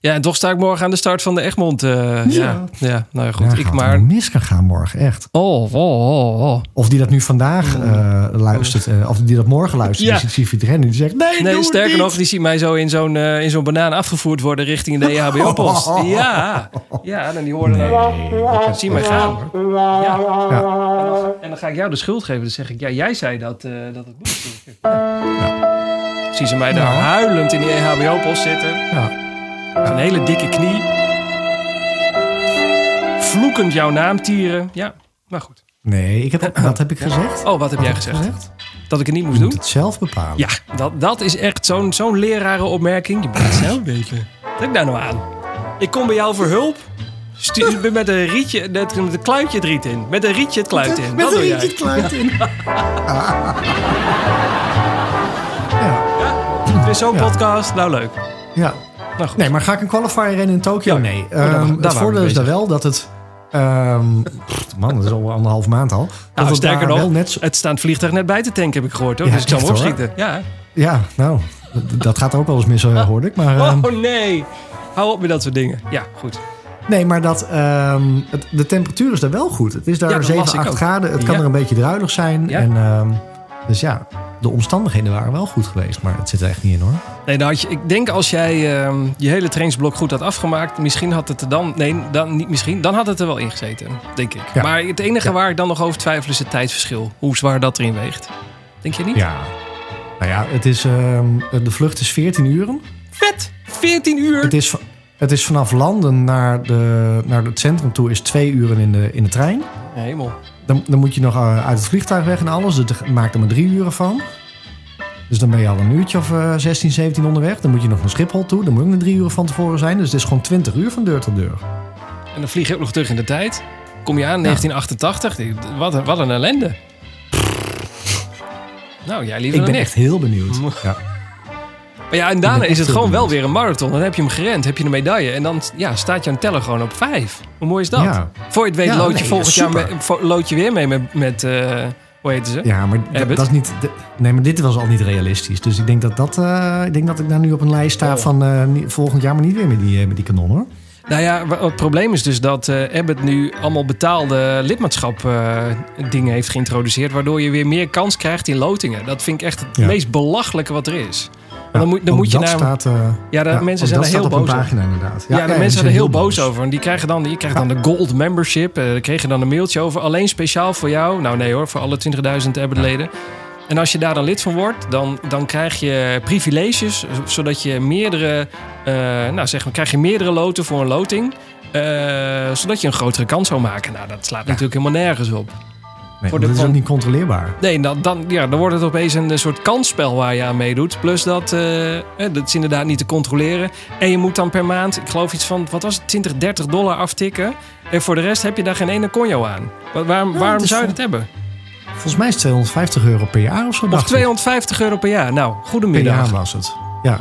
Ja, en toch sta ik morgen aan de start van de Egmond. eh, ja. ja. nou ja, goed. Ja, ik gaat maar... het mis kan gaan morgen, echt. Oh, oh, oh, oh. Of die dat nu vandaag eh, luistert, eh, of die dat morgen luistert. Mm. Ja. Die ziet Siegfried rennen, die zegt, nee, doe Nee, het sterker niet. nog, die ziet mij zo in zo'n eh, in zo'n banaan afgevoerd worden richting de E EHBO-post. Ja. Ja, en die hoorde dan... Zie mij gaan, hoor. Ja. Ja. En dan, ga- en dan ga ik jou de schuld geven. Dan zeg ik, ja, jij zei dat, eh, dat het moest. Ja. Zien ze mij daar Nou. huilend in die E EHBO-post zitten. Ja. Een hele dikke knie. Vloekend jouw naam tieren. Ja, maar goed. Nee, ik heb, dat heb ik gezegd. Oh, wat heb jij Oh, gezegd? dat ik het niet moest Je moet doen. het zelf bepalen. Ja, dat, dat is echt zo'n zo'n lerarenopmerking. Je moet het zelf weten. Wat heb ik daar nou aan? Ik kom bij jou voor hulp. Stu- ik ben met een rietje, net met een kluitje het riet in. Met een rietje het kluit in. Oh, Met dat een doe jij. rietje het kluit in. ja, Het is zo'n Ja. podcast. Nou, leuk. ja. Nou, goed. Nee, maar ga ik een qualifier rennen in Tokio? Ja. Oh, Nee. daar- daar Ehm, waren het we voordeel is bezig. daar wel dat het... ehm, pff, man, dat is al anderhalf maand al. dat Nou, het sterker daar nog, wel net zo- het staand vliegtuig net bij te tanken heb ik gehoord. Hoor. Ja, dus ik zal hem echt, hoor. opschieten. Ja. Ja, nou, d- dat gaat er ook wel eens mis, eh, hoorde ik. Maar, ehm, Oh nee. Hou op met dat soort dingen. Ja, goed. Nee, maar dat, ehm, het- de temperatuur is daar wel goed. Het is daar Ja, dat 7, las ik 8 ook. graden. Het kan Ja. er een beetje druilig zijn. Ja. En, ehm, dus ja, de omstandigheden waren wel goed geweest. Maar het zit er echt niet in hoor. Nee, nou had je, ik denk als jij ehm, je hele trainingsblok goed had afgemaakt, misschien had het er dan. Nee, dan niet misschien. Dan had het er wel in gezeten, denk ik. Ja. Maar het enige Ja. waar ik dan nog over twijfel is het tijdverschil. Hoe zwaar dat erin weegt. Denk je niet? Ja. Nou ja, het is, ehm, de vlucht is 14 uren. Vet! 14 uur! Het is, va- het is vanaf landen naar, de, naar het centrum toe is 2 uren in de, in de trein. Hemel. Dan, dan moet je nog eh, uit het vliegtuig weg en alles. Dus dat maakt er maar drie uren van. Dus dan ben je al een uurtje of eh 16, 17 onderweg. Dan moet je nog naar Schiphol toe. Dan moet je ook nog drie uur van tevoren zijn. Dus het is gewoon 20 uur van deur tot deur. En dan vlieg je ook nog terug in de tijd. Kom je aan 1988. Dit- Wat een, wat een ellende. Nou, jij liever dan Ik ben ik. echt heel benieuwd. Ja. Maar ja, en daarna ben is echt het heel gewoon wel benieuwd. weer een marathon. Dan heb je hem gerend, heb je een medaille. En dan ja, staat jouw teller gewoon op vijf. Hoe mooi is dat? Ja. Voor je het weet Ja, lood je nee, volgend jaar super. mee- vo- lood je weer mee met... met eh, hoe heet ze? Ja, maar d- Abbott? dat is niet. d- Nee, maar dit was al niet realistisch. Dus ik denk dat, dat, eh, ik denk dat ik daar nu op een lijst sta Oh. van eh, ni- volgend jaar, maar niet weer met die, eh, met die kanon hoor. Nou ja, wa- het probleem is dus dat eh Abbott nu allemaal betaalde lidmaatschap eh, dingen heeft geïntroduceerd. Waardoor je weer meer kans krijgt in lotingen. Dat vind ik echt het Ja. meest belachelijke wat er is. Want Ja, dan moet, dan want moet je dat naar... staat, eh, ja, de ja, want mensen zijn dat er staat heel op een boos over. pagina inderdaad. Ja, de nee, mensen ze zijn er heel boos over. En die krijgen dan, die krijgen dan de gold membership. Eh, die kregen dan een mailtje over. Alleen speciaal voor jou. Nou nee hoor, voor alle 20.000 Abbott-leden. En als je daar dan lid van wordt, dan, dan krijg je privileges. Zodat je meerdere, eh, nou zeg maar, krijg je meerdere loten voor een loting. eh, zodat je een grotere kans zou maken. Nou, dat slaat natuurlijk helemaal nergens op. Nee, voor want de- dat is ook want- niet controleerbaar. Nee, dan, dan, ja, dan wordt het opeens een eh, soort kansspel waar je aan meedoet. Plus dat, eh, eh, dat is inderdaad niet te controleren. En je moet dan per maand, ik geloof iets van, wat was het, 20, 30 dollar aftikken. En voor de rest heb je daar geen ene conjo aan. Wa- waarom Ja, waarom het is eh, zou je vol- dat hebben? Volgens mij is het 250 euro per jaar of zo. Of dacht ik. 250 euro per jaar. Nou, per goedemiddag. jaar was het. Ja.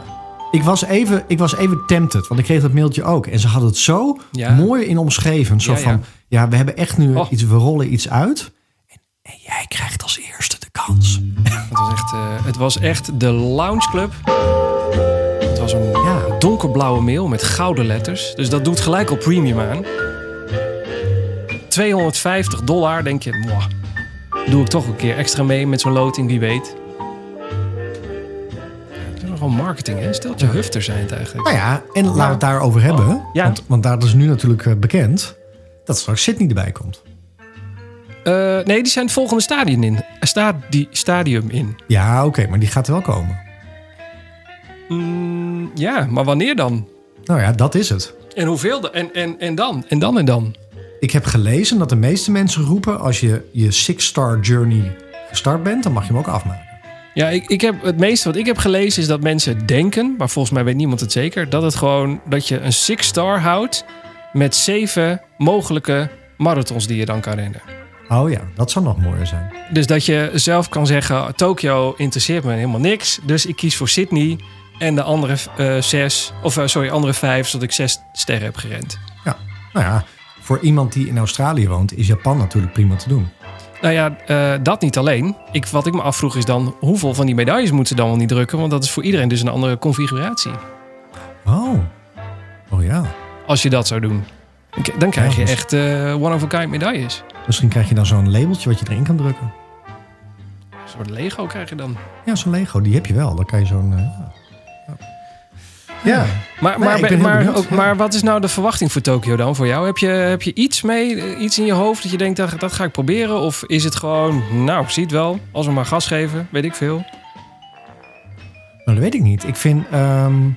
Ik was, even, ik was even tempted, want ik kreeg dat mailtje ook. En ze hadden het zo Ja. mooi in omschreven. Zo Ja, ja. van, ja. we hebben echt nu Oh. iets, we rollen iets uit. En, en jij krijgt als eerste de kans. Het, was echt, eh, het was echt de Lounge Club. Het was een Ja. donkerblauwe mail met gouden letters. Dus dat doet gelijk al premium aan. 250 dollar, denk je, mwah, doe ik toch een keer extra mee met zo'n loting, wie weet. Het is nogal marketing, hè? Stel dat je hufter zijn het eigenlijk. Nou ja, en laten we het daarover hebben. Oh, ja. Want, want daar is nu natuurlijk eh, bekend dat straks Sydney erbij komt. Eh, nee, die zijn het volgende stadium in. Eh, Stadi stadium in. Ja, oké, maar die gaat er wel komen. Mm, ja, maar wanneer dan? Nou ja, dat is het. En hoeveel? dan? En, en, en dan? En dan en dan? Ik heb gelezen dat de meeste mensen roepen... als je je six-star journey gestart bent, dan mag je hem ook afmaken. Ja, ik, ik heb het meeste wat ik heb gelezen is dat mensen denken, maar volgens mij weet niemand het zeker, dat het gewoon dat je een six star houdt met zeven mogelijke marathons die je dan kan rennen. Oh ja, dat zou nog mooier zijn. Dus dat je zelf kan zeggen, Tokio interesseert me helemaal niks, dus ik kies voor Sydney en de andere eh, zes, of eh, sorry, andere vijf, zodat ik zes sterren heb gerend. Ja, nou ja, voor iemand die in Australië woont... is Japan natuurlijk prima te doen. Nou ja, eh, dat niet alleen. Ik, wat ik me afvroeg is dan, hoeveel van die medailles moeten ze dan wel niet drukken? Want dat is voor iedereen dus een andere configuratie. Oh, oh ja. Als je dat zou doen. Dan k- Dan krijg Ja, je dus- echt eh, one-of-a-kind medailles. Misschien krijg je dan zo'n labeltje wat je erin kan drukken. Een soort Lego krijg je dan. Ja, zo'n Lego, die heb je wel. Dan kan je zo'n... eh, ja. ja. Maar, Nee, maar, ik ben heel maar, benieuwd, ook- ja. maar wat is nou de verwachting voor Tokio dan voor jou? Heb je, heb je iets mee, eh, iets in je hoofd dat je denkt, dat, dat ga ik proberen? Of is het gewoon, nou, ziet wel, als we maar gas geven, weet ik veel. Nou, dat weet ik niet. Ik vind, ehm,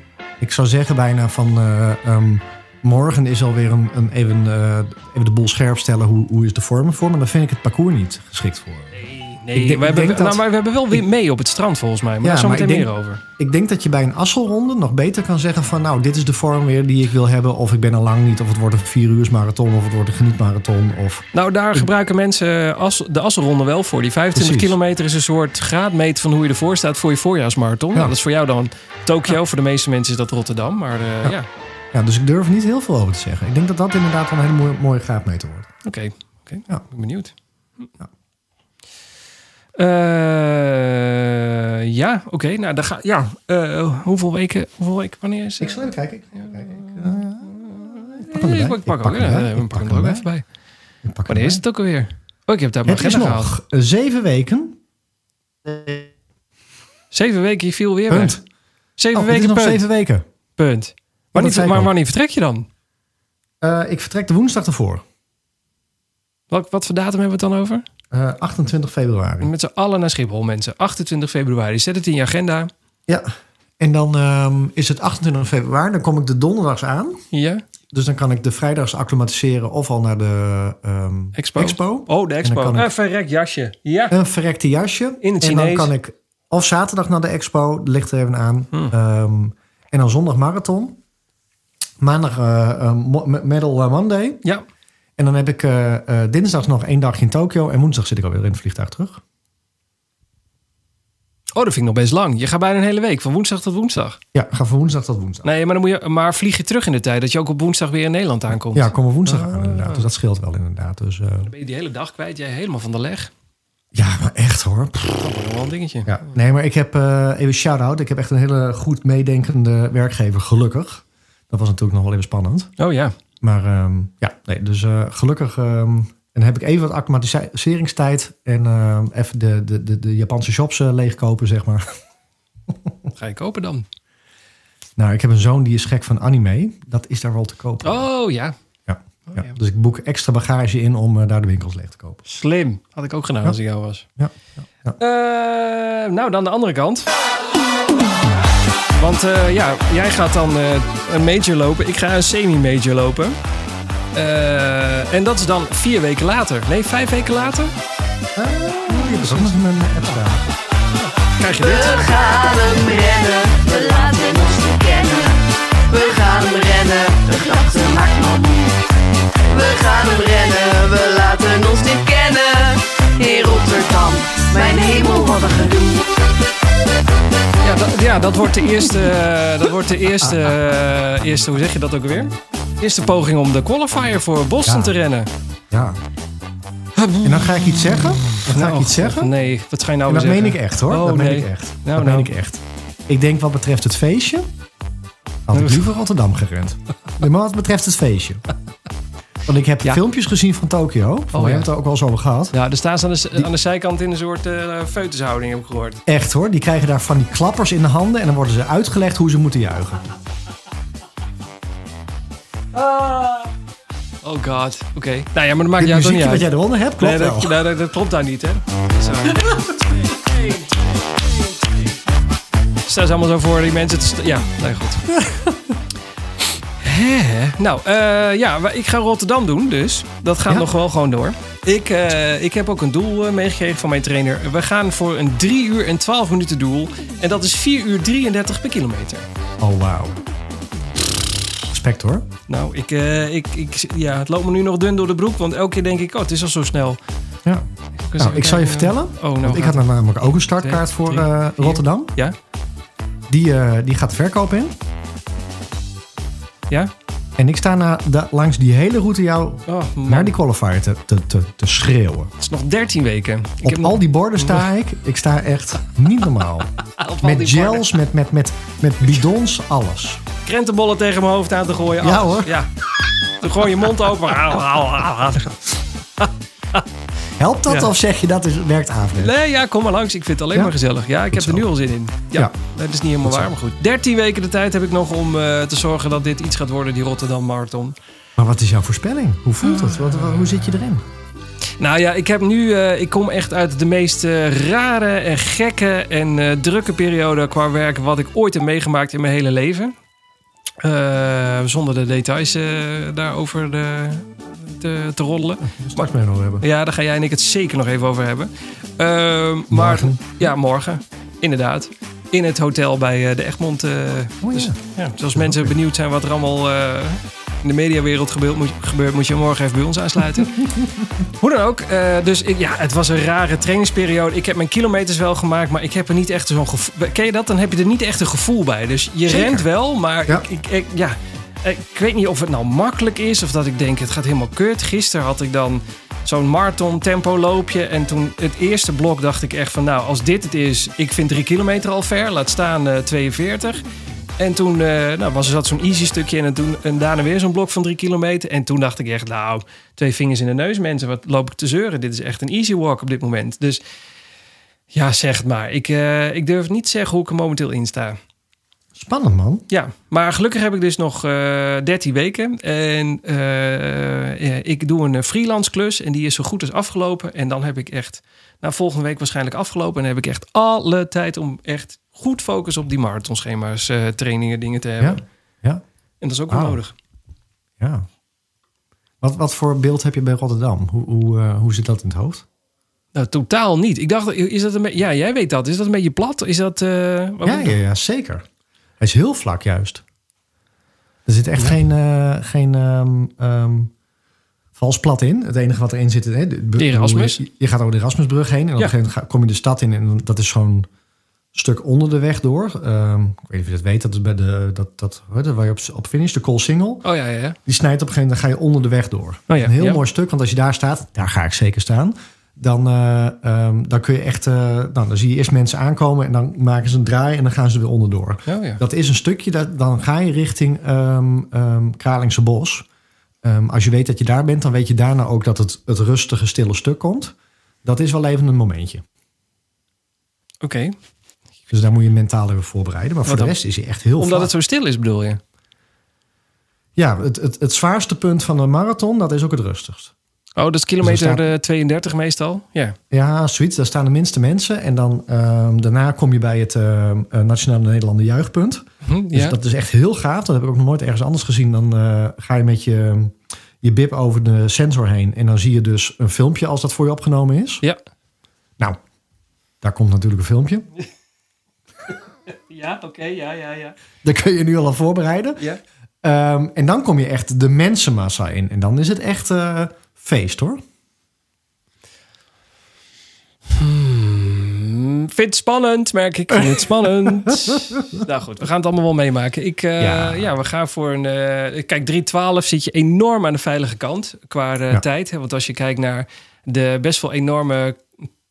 ik zou zeggen bijna van eh, ehm, morgen is alweer een, een even, eh, even de boel scherp stellen. Hoe, hoe is de vorm ervoor? Maar dan vind ik het parcours niet geschikt voor. Nee, Nee, Ik denk- we, ik hebben, denk dat- nou, maar we hebben wel weer mee op het strand volgens mij. Maar Ja, daar zo maar meteen ik meer denk- over. Ik denk dat je bij een asselronde nog beter kan zeggen van... nou, dit is de vorm weer die ik wil hebben. Of ik ben er lang niet. Of het wordt een vier uur marathon. Of het wordt een genietmarathon. Of... Nou, daar gebruiken mensen eh, as, de assenronde wel voor. Die 25 Precies. kilometer is een soort graadmeet van hoe je ervoor staat voor je voorjaarsmarathon. Ja. Nou, dat is voor jou dan Tokio, voor de meeste mensen is dat Rotterdam. Maar eh, ja, Ja. Ja, dus ik durf niet heel veel over te zeggen. Ik denk dat dat inderdaad wel een hele mooie, mooie graadmeter wordt. oké. Oké, Ja. ik ben benieuwd. Ja. Eh, ja, oké. nou, daar ga, ja. eh, hoeveel, weken, hoeveel weken? Wanneer is het? Ik zal even kijken. Ik ga even kijken. Eh, ik pak hem Eh, erbij. Ik pak- pak ook, hem ja, erbij. ik pak hem er ook erbij. even bij. Ik pak hem Wanneer is erbij. het ook alweer? Oh, ik heb daar mijn Het is agenda gehaald. nog eh, zeven weken. Zeven weken, je viel weer Punt. weg. Zeven Oh, het is weken, nog punt. zeven weken. punt. Maar, dat niet, zei ik maar al. wanneer vertrek je dan? Eh, ik vertrek de woensdag ervoor. Wat, wat voor datum hebben we het dan over? Eh, 28 februari. Met z'n allen naar Schiphol, mensen. 28 februari. Zet het in je agenda. Ja. En dan ehm, is het 28 februari. Dan kom ik de donderdags aan. Ja, Dus dan kan ik de vrijdags acclimatiseren of al naar de ehm, expo. Oh, de En expo. dan kan Een ik- verrek jasje. Ja. Een verrekte jasje. In het en Chinees. dan kan ik of zaterdag naar de expo, dat ligt er even aan. Hmm. Ehm, en dan zondag marathon. Maandag eh, eh, mo- me- Medal eh, Monday. Ja, Oh, En dan heb ik eh, eh, dinsdag nog één dagje in Tokio. En woensdag zit ik alweer in het vliegtuig terug. oh, dat vind ik nog best lang. Je gaat bijna een hele week, van woensdag tot woensdag. Ja, ga van woensdag tot woensdag. Nee, maar, dan moet je, maar vlieg je terug in de tijd, dat je ook op woensdag weer in Nederland aankomt. Ja, kom er woensdag aan Ah. inderdaad. Dus dat scheelt wel inderdaad. Dus eh, Dan ben je die hele dag kwijt, jij helemaal van de leg. ja, maar echt hoor. Pff. Dat wordt nog wel een dingetje. Ja, nee, maar ik heb eh, even shout-out. Ik heb echt een hele goed meedenkende werkgever, gelukkig. Dat was natuurlijk nog wel even spannend. Oh ja. Maar ehm, ja, nee, dus eh, gelukkig. ehm, en dan heb ik even wat acclimatiseringstijd. En ehm, even de, de, de, de Japanse shops eh, leegkopen, zeg maar. Wat ga je kopen dan? Nou, ik heb een zoon die is gek van anime. Dat is daar wel te kopen. Oh ja, Ja, dus ik boek extra bagage in om eh, daar de winkels leeg te kopen. slim. Had ik ook gedaan als ik jou was. Ja, ja, ja. Eh, nou, dan de andere kant. Want eh, ja, jij gaat dan eh, een major lopen. Ik ga een semi-major lopen. Eh, en dat is dan vier weken later. Nee, vijf weken later Ah, die heb ik ook nog in mijn app staan. krijg je dit. We gaan hem rennen, we laten ons niet kennen. We gaan hem rennen, de gedachte maakt me moe. We gaan hem rennen, we laten ons niet kennen. In Rotterdam, mijn hemel, wat een gedoe. Ja, dat, ja, dat wordt de eerste, eh, dat wordt de eerste, eh, eerste, hoe zeg je dat ook weer? Eerste poging om de qualifier voor Boston Ja. te rennen. Ja. En dan ga ik iets zeggen. Dan ga Nou, ik iets zeggen. Nee, wat ga je nou En weer dat zeggen? meen ik echt hoor. Oh, dat nee. meen ik echt. Nou, dat nou. meen ik echt. Ik denk wat betreft het feestje. Had ik liever Rotterdam gerend. Nee, maar wat betreft het feestje. Want ik heb Ja. Oh, filmpjes gezien van Tokio. We ja. hebben het er ook wel zo over gehad. Ja, daar staan ze aan de, aan de zijkant in een soort eh feutushouding, heb ik gehoord. Echt hoor. Die krijgen daar van die klappers in de handen. En dan worden ze uitgelegd hoe ze moeten juichen. Ah, Oh god, oké. Nou ja, maar dat maakt Dit jou toch niet muziekje wat uit. jij eronder hebt, klopt nee, wel. dat, nou, dat, dat klopt daar niet, hè? Zo. Staan ze allemaal zo voor die mensen te... sta- Ja, nee, goed. Hè? Nou, eh, ja, wa- ik ga Rotterdam doen, dus dat gaat Ja? nog wel gewoon door. Ik, eh, ik heb ook een doel eh, meegekregen van mijn trainer. We gaan voor een 3 uur en 12 minuten doel. En dat is 4 uur 33 per kilometer. Oh, wauw. Respect hoor. Nou, ik, eh, ik, ik, ja, het loopt me nu nog dun door de broek, want elke keer denk ik, oh, het is al zo snel. Ja. Dus Nou, ik zal je eh, vertellen. Oh, nou Want ik gaat had namelijk ook een startkaart Twee, voor drie, eh, vier. Rotterdam. Ja? Die, eh, die gaat de verkoop in. Ja? En ik sta na, da- langs die hele route jou Oh, man. naar die qualifier te, te, te, te schreeuwen. Het is nog 13 weken. Ik Op heb nog- al die borden sta ik. Ik sta echt niet normaal. Ah, op al die met borden. gels, met, met, met, met bidons, alles. Krentenbollen tegen mijn hoofd aan te gooien. Ja, alles. hoor. Ja. Dan gooi je mond open. Au, au, au, au. Helpt dat Ja. of zeg je dat is, werkt averechts? Nee, ja, kom maar langs. Ik vind het alleen Ja? maar gezellig. Ja, ik heb er zo. nu al zin in. Ja, Ja. dat is niet helemaal waar, maar goed. 13 weken de tijd heb ik nog om eh, te zorgen dat dit iets gaat worden, die Rotterdam Marathon. Maar wat is jouw voorspelling? Hoe voelt het? Wat, wat- hoe zit je erin? Nou ja, ik heb nu. eh, ik kom echt uit de meest eh, rare en gekke en eh, drukke periode qua werk. wat ik ooit heb meegemaakt in mijn hele leven. Eh, zonder de details eh, daarover eh, te, te roddelen. Straks mee nog hebben. Ja, daar ga jij en ik het zeker nog even over hebben. Ehm, maar Morgen. ja, morgen. Inderdaad. In het hotel bij eh, de Egmond. eh, Oh, dus, ja. ja, dus als mensen benieuwd zijn wat er allemaal eh, in de mediawereld gebeurt moet, gebeurt, moet je morgen even bij ons aansluiten. Hoe dan ook. eh, dus ik- ja, het was een rare trainingsperiode. Ik heb mijn kilometers wel gemaakt, maar ik heb er niet echt zo'n gevoel. Ken je dat? Dan heb je er niet echt een gevoel bij. Dus je Zeker. rent wel, maar Ja. ik, ik, ik- ja. Ik weet niet of het nou makkelijk is of dat ik denk het gaat helemaal kut. Gisteren had ik dan zo'n marathon tempo loopje. En toen het eerste blok dacht ik echt van nou, als dit het is, ik vind drie kilometer al ver. Laat staan eh, 42. En toen eh, nou, was er zat zo'n easy stukje en, toen, en daarna weer zo'n blok van drie kilometer. En toen dacht ik echt, nou, twee vingers in de neus mensen, wat loop ik te zeuren. Dit is echt een easy walk op dit moment. Dus ja, zeg het maar. Ik, eh, ik durf niet zeggen hoe ik er momenteel in sta. Spannend, man. Ja, maar gelukkig heb ik dus nog eh 13 weken. En eh, eh, ik doe een eh, freelance klus en die is zo goed als afgelopen. En dan heb ik echt, nou volgende week waarschijnlijk afgelopen. En dan heb ik echt alle tijd om echt goed focus op die marathonschema's, eh, trainingen, dingen te hebben. Ja. ja. En dat is ook wel Wauw. nodig. ja. Wat, wat voor beeld heb je bij Rotterdam? Hoe, hoe, eh, hoe zit dat in het hoofd? Nou, totaal niet. Ik dacht, is dat een beetje, ja, jij weet dat. Is dat een beetje plat? Is dat, eh, wat- Ja, ja, ja, zeker. Hij is heel vlak juist. Er zit echt geen, eh, geen ehm, ehm, vals plat in. Het enige wat erin zit... Hè, de, De Erasmus. Je, je gaat over de Erasmusbrug heen. En op een Ja. gegeven moment ga- kom je de stad in. En dan- dat is zo'n stuk onder de weg door. Ehm, ik weet niet of je dat weet. Dat is bij de... Dat, dat, hoor, waar je op, op finish, de Koolsingel. Oh ja, ja, ja. Die snijdt op een gegeven moment, dan ga je onder de weg door. Oh ja, een heel ja. mooi stuk, want als je daar staat, daar ga ik zeker staan. Dan, eh, ehm, dan kun je echt, eh, nou, dan zie je eerst mensen aankomen en dan maken ze een draai en dan gaan ze er weer onderdoor. Oh, ja. Dat is een stukje, dat, dan ga je richting ehm ehm, Kralingse Bos. Ehm, als je weet dat je daar bent, dan weet je daarna ook dat het, het rustige, stille stuk komt. Dat is wel even een momentje. Oké. Dus daar moet je mentaal even voorbereiden. Maar voor Want Oh, dan- de rest is hij echt heel Omdat vlak. het zo stil is, bedoel je? Ja, het, het, het zwaarste punt van een marathon, dat is ook het rustigst. Oh, dat is Dus kilometer er staat- eh, 32 meestal. Ja. Ja, zoiets. Daar staan de minste mensen. En dan ehm, daarna kom je bij het ehm, eh, Nationale Nederlander Juichpunt. Hm, Dus ja. dat is echt heel gaaf. Dat heb ik ook nog nooit ergens anders gezien. Dan eh, ga je met je, je bib over de sensor heen. En dan zie je dus een filmpje als dat voor je opgenomen is. Ja. Nou, daar komt natuurlijk een filmpje. Ja, oké, ja, ja, ja. Daar kun je nu al aan voorbereiden. Ja, Ehm, en dan kom je echt de mensenmassa in. En dan is het echt eh, feest hoor. Mm, vind het spannend, merk ik. Vind het spannend. nou goed, we gaan het allemaal wel meemaken. Ik, eh, ja. Ja. we gaan voor een... eh, kijk, 3.12 zit je enorm aan de veilige kant qua eh, Ja. tijd. hè. Want als je kijkt naar de best wel enorme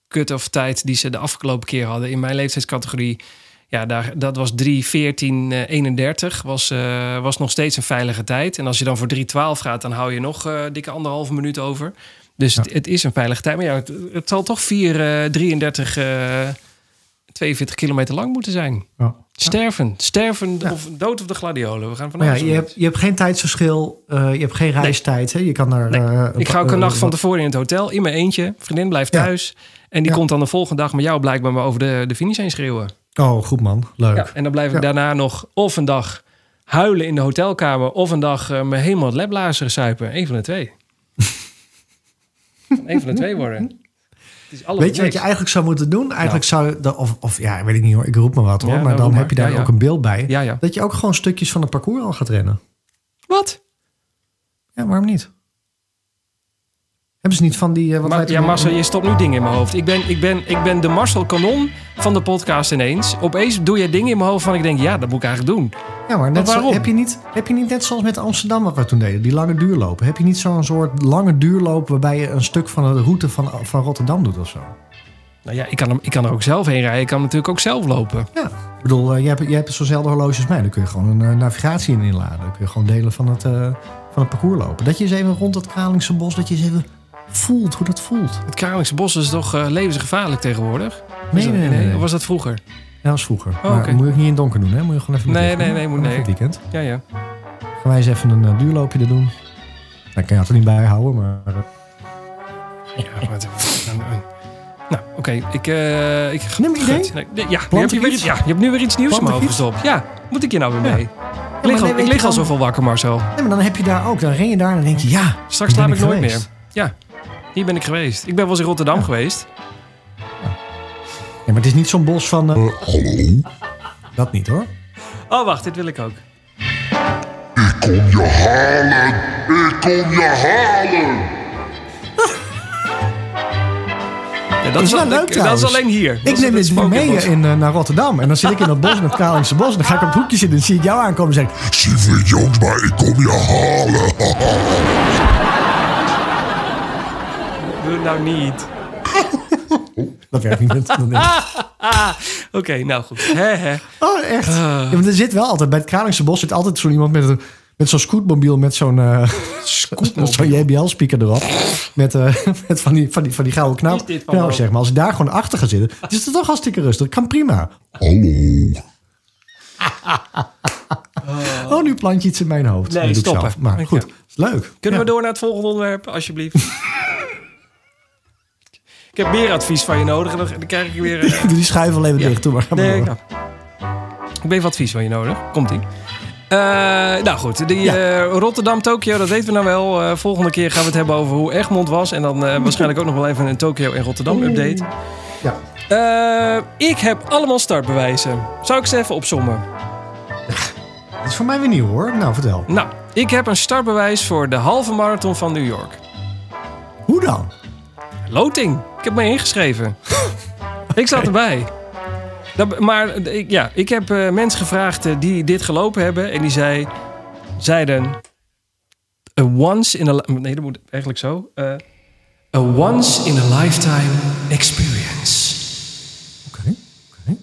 cut-off tijd... die ze de afgelopen keer hadden in mijn leeftijdscategorie... Ja, daar, dat was 3.14, eh, 31. Was, eh, was nog steeds een veilige tijd. En als je dan voor 3.12 gaat, dan hou je nog eh, dikke anderhalve minuut over. Dus het, het is een veilige tijd. Maar ja, het, het zal toch 4, eh, 33, eh, 42 kilometer lang moeten zijn. Ja. Sterven. Sterven Ja. of dood of de gladiolen. We gaan van Maar ja, alles je uit. hebt, je hebt geen tijdsverschil. eh, je hebt geen reistijd. Hè? Je kan daar... Nee. eh, Ik ga ook een eh, nacht van wat- tevoren in het hotel. In mijn eentje. Vriendin blijft Ja. thuis. En die Ja. komt dan de volgende dag met jou blijkbaar maar over de, de finish heen schreeuwen. Oh, goed man. Leuk. Ja, en dan blijf ik Ja. daarna nog of een dag huilen in de hotelkamer... of een dag eh, me helemaal het lablazeren suipen. Eén van de twee. Eén van de twee worden. Het is allemaal Weet je wat niks. je eigenlijk zou moeten doen? Eigenlijk zou de, of, of ja, weet ik niet hoor, ik roep me wat hoor. Ja, nou, maar dan roep maar. heb je daar Ja, ja. ook een beeld bij. Ja, ja. Dat je ook gewoon stukjes van het parcours al gaat rennen. Wat? Ja, waarom niet? Hebben ze niet van die... eh, wat Ma- wij toen- ja, Marcel, je stopt nu dingen in mijn hoofd. Ik ben, ik, ben, ik ben de Marcel Kanon van de podcast ineens. Opeens doe je dingen in mijn hoofd van ik denk, ja, dat moet ik eigenlijk doen. ja, maar Maar net waarom? Zo, heb, je niet, heb je niet net zoals met Amsterdam wat we toen deden, die lange duurlopen. Heb je niet zo'n soort lange duurloop waarbij je een stuk van de route van, van Rotterdam doet of zo? Nou ja, ik kan, hem, ik kan er ook zelf heen rijden. Ik kan natuurlijk ook zelf lopen. Ja, ik bedoel, eh, jij hebt, jij hebt zo'nzelfde horloge als mij. Daar kun je gewoon een eh, navigatie in inladen. Dan kun je gewoon delen van het, eh, van het parcours lopen. Dat je eens even rond dat Kralingse bos, dat je eens even voelt hoe dat voelt. Het Kralingse Bos is toch eh, levensgevaarlijk tegenwoordig? Is Nee, dat- nee, nee. nee. Of was dat vroeger? Ja, dat is vroeger. Oh, maar oké. moet je ook niet in het donker doen, hè? Moet je gewoon even met Nee, licht doen. nee, nee, moet- Gewoon nee. voor het weekend. Ja, ja. Gaan wij eens even een eh, duurloopje er doen. Dan kan je het er niet bij houden, maar... eh, ja wat- nou, oké. Ik, eh ik Neem een idee. Gut, nee, nee, ja, nu Plant heb je ik weer iets? iets, ja, je hebt nu weer iets nieuws Plant in mijn hoofd ik gestopt. Ja, moet ik je nou weer Ja. mee? Ik lig, nee, al, ik weet je lig al dan- zoveel wakker, Marcel. Nee, maar dan heb je daar ook. Dan ren je daar en dan denk je, ja. Straks ben slaap ik nooit meer. geweest. Ja, hier ben ik geweest. Ik ben wel eens in Rotterdam geweest. Ja, maar het is niet zo'n bos van... eh, Dat niet hoor. Oh, wacht, dit wil ik ook. kom je halen. Ik kom je halen. Ja, dat Is wel al- leuk Dat is trouwens. alleen hier. Dat Ik is neem het dit mee Spookybos. in, eh, naar Rotterdam. En dan zit ik in dat bos, in dat Kralingse bos. En dan ga ik op het hoekje zitten en dan zie ik jou aankomen en zeg ik, Sieve jongens, maar ik kom je halen. Doe het nou niet. Dat werkt niet. Dat- dat- Ah, oké, nou goed. Hè, hè. Oh, echt? Ah. Ja, want er zit wel altijd, bij het Kralingse bos zit altijd zo iemand met, een- met zo'n scootmobiel. Met zo'n eh, zo'n JBL-speaker erop. Met, eh, met van, die, van, die, van die gouden Is knap. dit van Nou, Rob? zeg maar, als ik daar gewoon achter ga zitten. Het is het toch hartstikke rustig. Kan prima. Hallo. Oh, nu plant je iets in mijn hoofd. Nee, Dat doe ik stoppen. zelf. Maar goed, Ja. is leuk. Kunnen Ja. we door naar het volgende onderwerp, alsjeblieft? ik heb meer advies van je nodig. en Dan dan krijg ik weer... eh, Doe die schuif al even dicht. Doe maar. Ga maar Nee, door. nou. Ik heb even advies van je nodig. Komt-ie. Eh, nou goed, die Ja. eh, Rotterdam, Tokio, dat weten we nou wel. Eh, volgende keer gaan we het hebben over hoe Egmond was. En dan eh, waarschijnlijk ook nog wel even een Tokio en Rotterdam update. Ja. Eh, ik heb allemaal startbewijzen. Zou ik ze even opzommen? Dat is voor mij weer nieuw hoor. Nou, vertel. Nou, ik heb een startbewijs voor de halve marathon van New York. Hoe dan? Loting. Ik heb me ingeschreven. ik zat erbij. Dat, maar eh, ik, ja, ik heb eh, mensen gevraagd eh, die dit gelopen hebben. En die zei, zeiden... A once in a... li- Nee, dat moet eigenlijk zo. eh, a once in a lifetime experience. Oké. oké.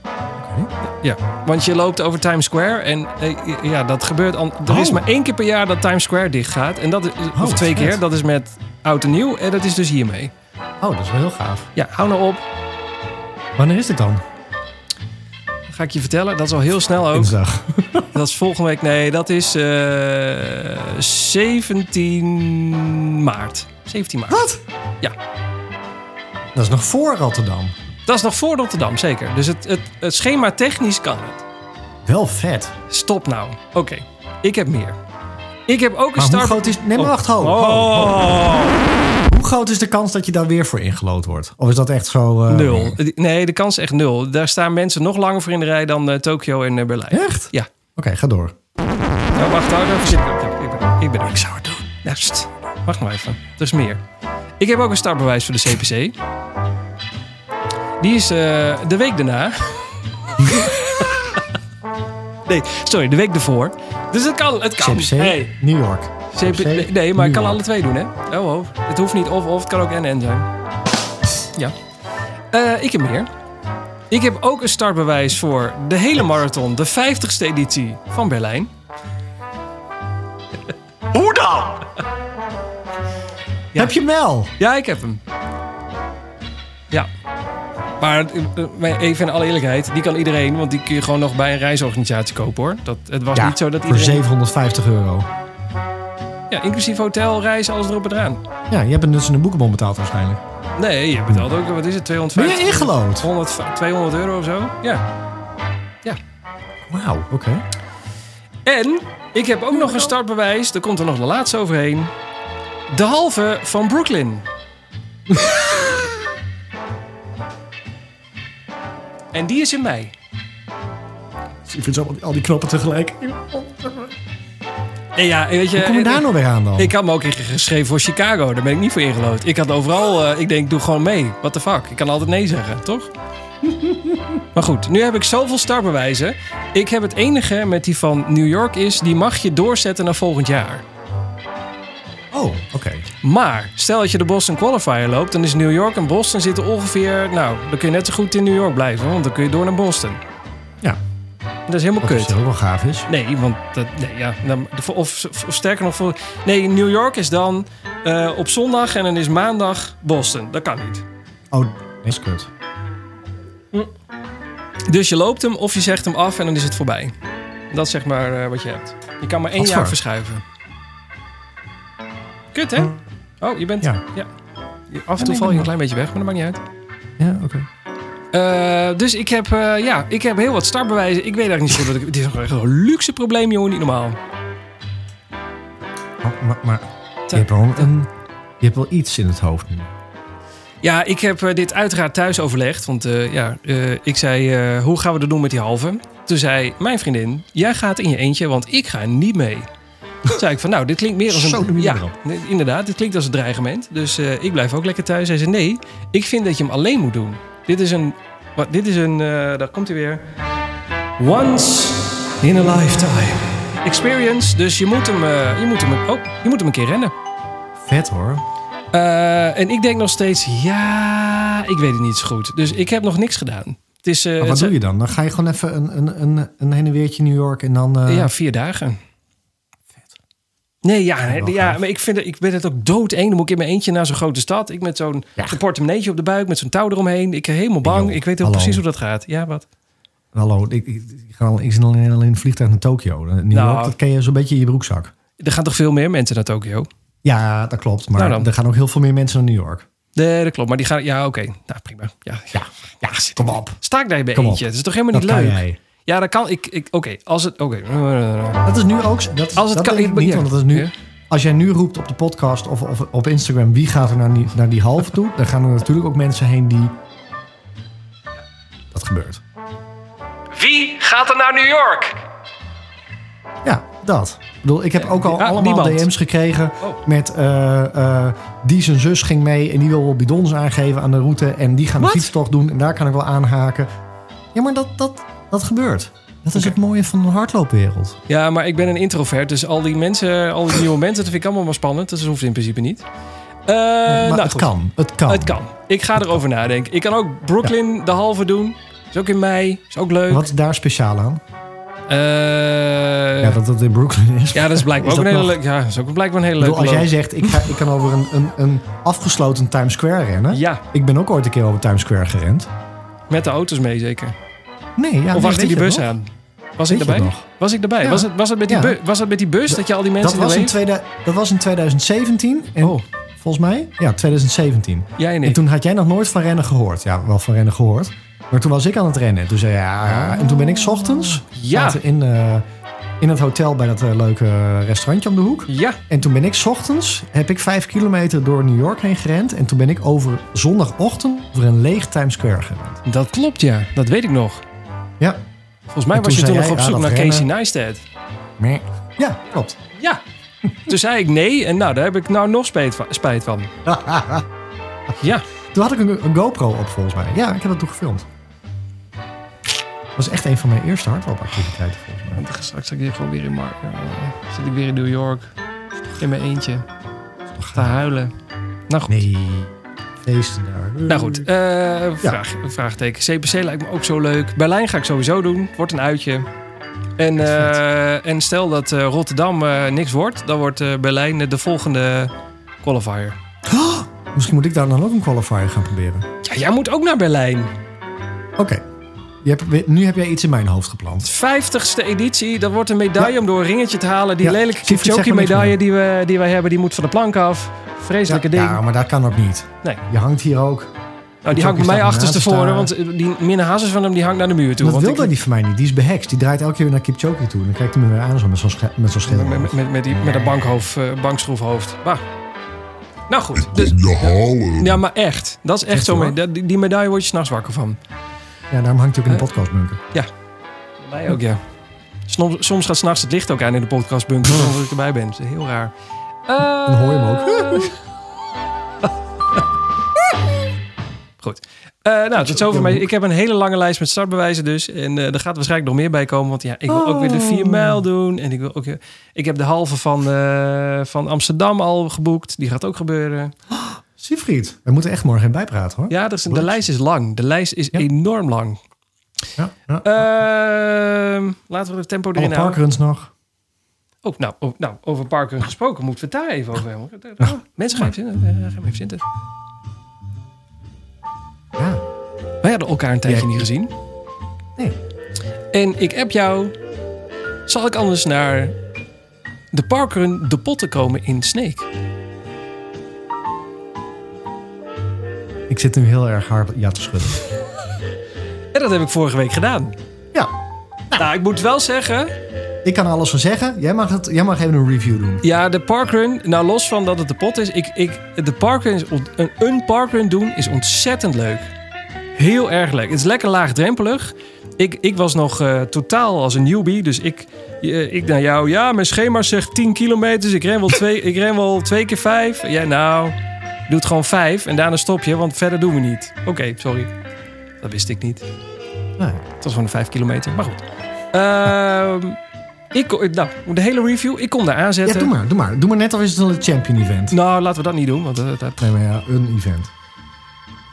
Oké. Ja, want je loopt over Times Square. En eh, ja, dat gebeurt... al- Er is Oh. maar één keer per jaar dat Times Square dicht gaat. En dat, is- Oh, of twee vet. keer. Dat is met oud en nieuw. En dat is dus hiermee. Oh, dat is wel heel gaaf. Ja, hou nou op. Wanneer is dit dan? Ga ik je vertellen. Dat is al heel snel ook. Dinsdag. Dat is volgende week. Nee, dat is eh 17 maart. 17 maart. Wat? Ja. Dat is nog voor Rotterdam. Dat is nog voor Rotterdam, zeker. Dus het, het, het schema technisch kan het. Wel vet. Stop nou. Oké, ik heb meer. Ik heb ook een Oh. Maar hoe start... groot is... Nee, maar Oh. wacht, ho, ho, ho. Hoe groot is de kans dat je daar weer voor ingelood wordt? Of is dat echt zo... eh, Nul. Nee, de kans is echt nul. Daar staan mensen nog langer voor in de rij dan eh, Tokio en eh, Berlijn. Echt? Ja. Oké, ga door. Nou, wacht, hou even zitten. Ja, ik ben- Ik ben er. Ik zou het doen. Nou, sst. Wacht maar even. Er is meer. Ik heb ook een startbewijs voor de CPC. Die is eh, de week daarna. nee, sorry, de week ervoor. Dus het kan. Het kan. CPC, Hey, New York. CP nee, nee, maar New ik kan York. alle twee doen, hè? Oh, oh. Het hoeft niet of of, het kan ook en en zijn. Ja. Eh, ik heb meer. Ik heb ook een startbewijs voor de hele marathon, de 50ste editie van Berlijn. Ja. Heb je Mel? Ja, ik heb hem. Ja. Maar eh, maar even in alle eerlijkheid, die kan iedereen, want die kun je gewoon nog bij een reisorganisatie kopen hoor. Dat, het was niet zo dat voor iedereen. 750 euro. Ja, inclusief hotel, reis, alles erop en eraan. Ja, je hebt een nuts en een boekenbon betaald waarschijnlijk. Nee, je betaalt ook, wat is het, Ben 250? je ingelood? 100, 200 euro of zo. Ja. Wauw, oké. En ik heb ook nog een startbewijs, daar komt er nog de laatste overheen. De halve van Brooklyn. en die is in mei. Ik vind zo al die knoppen tegelijk. Nee, ja, weet je, eh, Hoe kom je daar nou weer aan dan? Ik had me ook ingeschreven voor Chicago. Daar ben ik niet voor ingelood. Ik had overal... eh, ik denk, doe gewoon mee. What the fuck? Ik kan altijd nee zeggen, toch? maar goed, nu heb ik zoveel startbewijzen. Ik heb het enige met die van New York is... die mag je doorzetten naar volgend jaar. Oh, oké. Maar stel dat je de Boston Qualifier loopt... dan is New York en Boston zitten ongeveer... Nou, dan kun je net zo goed in New York blijven. Want dan kun je door naar Boston. Ja, Dat is helemaal wat kut. dus ook wel gaaf is. Nee, want dat, nee, ja, dan- of, of sterker nog, voor, nee, New York is dan eh, op zondag en dan is maandag Boston. Dat kan niet. Oh, dat is kut. Dus je loopt hem of je zegt hem af en dan is het voorbij. Dat is zeg maar eh, wat je hebt. Je kan maar één Wat jaar voor? Hm. verschuiven. Kut, hè? Oh, je bent... Ja. Ja. Af en toe val je een klein beetje weg, maar dat maakt niet uit. Ja, oké. Eh, dus ik heb, eh, ja, ik heb heel wat startbewijzen. Ik weet eigenlijk niet zo goed. Wat ik, dit is echt een luxe probleem, jongen. Niet normaal. Oh, Maar, maar, maar je, hebt wel een, je hebt wel iets in het hoofd nu. Ja, ik heb eh, dit uiteraard thuis overlegd. Want eh, ja, eh, ik zei, eh, hoe gaan we dat doen met die halve? Toen zei mijn vriendin, jij gaat in je eentje, want ik ga niet mee. Toen zei ik van, nou, dit klinkt meer als een... Zo noem je ja, erop. nee, inderdaad, dit klinkt als een dreigement. Dus eh, ik blijf ook lekker thuis. Hij zei, nee, ik vind dat je hem alleen moet doen. Dit is een... Wat, dit is een... eh, daar komt hij weer. Once in a lifetime. Experience. Dus je moet hem... eh, je, moet hem oh, je moet hem een keer rennen. Vet hoor. Eh, en ik denk nog steeds, ja, ik weet het niet zo goed. Dus ik heb nog niks gedaan. Het is, eh, Maar het wat zijn- doe je dan? Dan ga je gewoon even een, een, een, een heen en weertje New York en dan... eh, Ja, vier dagen. Nee, ja, hè, wel ja gaaf. maar ik, vind, het- ik ben het ook doodeng. Dan moet ik in mijn eentje naar zo'n grote stad. Ik met zo'n Ja. zo'n portemonneetje op de buik, met zo'n touw eromheen. Ik ben helemaal bang. joh, ik weet ook hallo. precies hoe dat gaat. Ja, wat? Hallo, ik, ik, ik ga al, ik zit alleen, alleen in het vliegtuig naar Tokio. Eh, New Nou. York, dat ken je zo'n beetje in je broekzak. Er gaan toch veel meer mensen naar Tokio? Ja, dat klopt. Nou Maar dan. er gaan ook heel veel meer mensen naar New York. Nee, dat klopt. Maar die gaan... Ja, oké. Nou, prima. Ja, ja. Ja, kom op. Sta ik daar in mijn Kom op. eentje? Het is toch helemaal niet Dat kan leuk? jij. Ja, dat kan ik. ik oké, als het... Oké. Dat is nu ook... Dat, Als het dat kan- denk ik ja. niet, want dat is nu... Ja. Als jij nu roept op de podcast of, of op Instagram... wie gaat er naar die, naar die halve toe... dan gaan er natuurlijk ook mensen heen die... Dat gebeurt. Wie gaat er naar New York? Ja, dat. Ik bedoel, ik heb ook al ah, allemaal niemand. DM's gekregen Oh. met eh, eh, die zijn zus ging mee en die wil wel bidons aangeven aan de route en die gaan de Wat? fietstocht doen en daar kan ik wel aanhaken. Ja, maar dat, dat, dat gebeurt. Dat is het mooie van een hardloopwereld. Ja, maar ik ben een introvert, dus al die mensen, al die nieuwe mensen, dat vind ik allemaal maar spannend. Dus dat hoeft in principe niet. Eh, maar nou, het goed. kan, het kan. Het kan. Ik ga erover nadenken. Ik kan ook Brooklyn de halve doen. Is ook in mei. Is ook leuk. Wat is daar speciaal aan? Eh, ja, dat het in Brooklyn is. dat is blijkbaar Is ook dat een hele nog- leuk. Ja, dat is ook blijkbaar een hele Ik bedoel, leuke. als jij loop. zegt, ik, ga, ik kan over een, een, een afgesloten Times Square rennen. Ja, Ik ben ook ooit een keer over Times Square gerend. met de auto's mee zeker. Nee, ja, nee, of weet achter je die bus nog? aan. Was Weet ik je erbij? nog? Was ik erbij? Ja. Was, het, was, het met die Ja. bu- was het met die bus dat je al die mensen Dat was, in ermee- tweede, dat was in 2017. En Oh. Volgens mij? Ja, 2017. Jij en En ik. toen had jij nog nooit van rennen gehoord. Ja, wel van rennen gehoord. Maar toen was ik aan het rennen. Toen zei ja, ja. En toen ben ik 's ochtends Ah. Ja. zaten in, eh, in het hotel bij dat eh, leuke restaurantje om de hoek. Ja, En toen ben ik 's ochtends, heb ik vijf kilometer door New York heen gerend. En toen ben ik over zondagochtend over een leeg Times Square gerend. dat klopt ja. Dat weet ik nog. Ja. Volgens mij En was toen je toen zei nog jij, op ja, zoek dat naar Casey rennen. Neistat. Ja, klopt. Ja. Toen zei ik nee en nou, daar heb ik nou nog spijt van. Spijt van. Ja, Toen had ik een, een GoPro op volgens mij. Ja, ik heb dat toen gefilmd. Dat was echt een van mijn eerste hardloopactiviteiten volgens mij. straks zit ik gewoon weer in Mark. Zit ik weer in New York. In mijn eentje. Te huilen. Nou goed. Nee, feesten daar. Nou goed, eh, vraag, vraagteken. CPC lijkt me ook zo leuk. Berlijn ga ik sowieso doen. Wordt een uitje. En, eh, en stel dat eh, Rotterdam eh, niks wordt, dan wordt eh, Berlijn eh, de volgende qualifier. Misschien moet ik daar dan ook een qualifier gaan proberen. Ja, jij moet ook naar Berlijn. Oké. Je hebt weer- Nu heb jij iets in mijn hoofd geplant. 50ste editie, dat wordt een medaille Ja. om door een ringetje te halen. Die Ja, lelijke Siegfried, zeg maar Kipchoge niks medaille meer. die, we, die wij hebben, die moet van de plank af. Ja, Vreselijke ding. ja, maar dat kan ook niet. Nee. Je hangt hier ook. nou, die hangt bij staat mij ernaast achterstevoren, daar. want eh, die Minne Hazes van hem die hangt naar de muur toe. dat want wil ik- dat die van mij niet. Die is behekst. Die draait elke keer weer naar Kipchoge toe. En dan kijkt hij me weer aan zo met zo'n sche- met zo'n schild. Met, met, met, die, met een bankhoofd, eh, bankschroefhoofd. Bah. Nou goed, dus, Kom je halen. ja, maar echt. Dat is echt Echt zo. hoor. mee- dat- Die, die medaille word je s'nachts wakker van. Ja, daarom hangt hij ook in de podcastbunker. Mij ook, ja. Soms, soms gaat s'nachts het licht ook aan in de podcastbunker, zonder dat ik erbij ben. Dat is heel raar. Eh, Dan hoor je hem ook. Goed. Eh, nou, dat is over mij. Ik heb een hele lange lijst met startbewijzen dus. En eh er gaat waarschijnlijk nog meer bij komen. Want ja, ik wil ook weer de 4 mijl doen. En ik, wil ook, eh, ik heb de halve van, eh, van Amsterdam al geboekt. Die gaat ook gebeuren. Siegfried, we moeten echt morgen even bijpraten hoor. Ja, dus de Goed. lijst is lang. De lijst is Ja. enorm lang. Ja, ja. Ehm, laten we het tempo Alle Eh, erin houden. parkruns nog. Oh, nou, oh, nou, over parken gesproken. Moeten we het daar even over hebben? Oh, mensen, ga even zitten. Eh, ga maar even zitten. Ja. Wij hadden elkaar een tijdje Ja. niet gezien. Nee. En ik app jou. Zal ik anders naar de parkrun de potten komen in Snake? Ik zit nu heel erg hard ja te schudden. En dat heb ik vorige week gedaan. Ja, Nou, ik moet wel zeggen, ik kan er alles van zeggen. Jij mag, het, jij mag even een review doen. ja, de parkrun, nou los van dat het de pot is, ik, ik, de parkrun is ont- een, een parkrun doen is ontzettend leuk. Heel erg leuk. Het is lekker laagdrempelig. Ik, ik was nog eh, totaal als een newbie, dus ik, eh, ik naar jou, ja, mijn schema zegt 10 kilometers, ik ren wel twee, ik ren wel twee keer vijf. Ja, nou, doe het gewoon vijf en daarna stop je, want verder doen we niet. Oké, sorry. Dat wist ik niet. Nee. Het was gewoon een 5 kilometer, maar goed. Ehm, ik, kon- nou, de hele review, ik kon daar Ja, aanzetten. doe maar, doe maar. Doe maar net als is het een champion event. Nou, laten we dat niet doen. Want, eh, dat- Nee, maar ja, een event.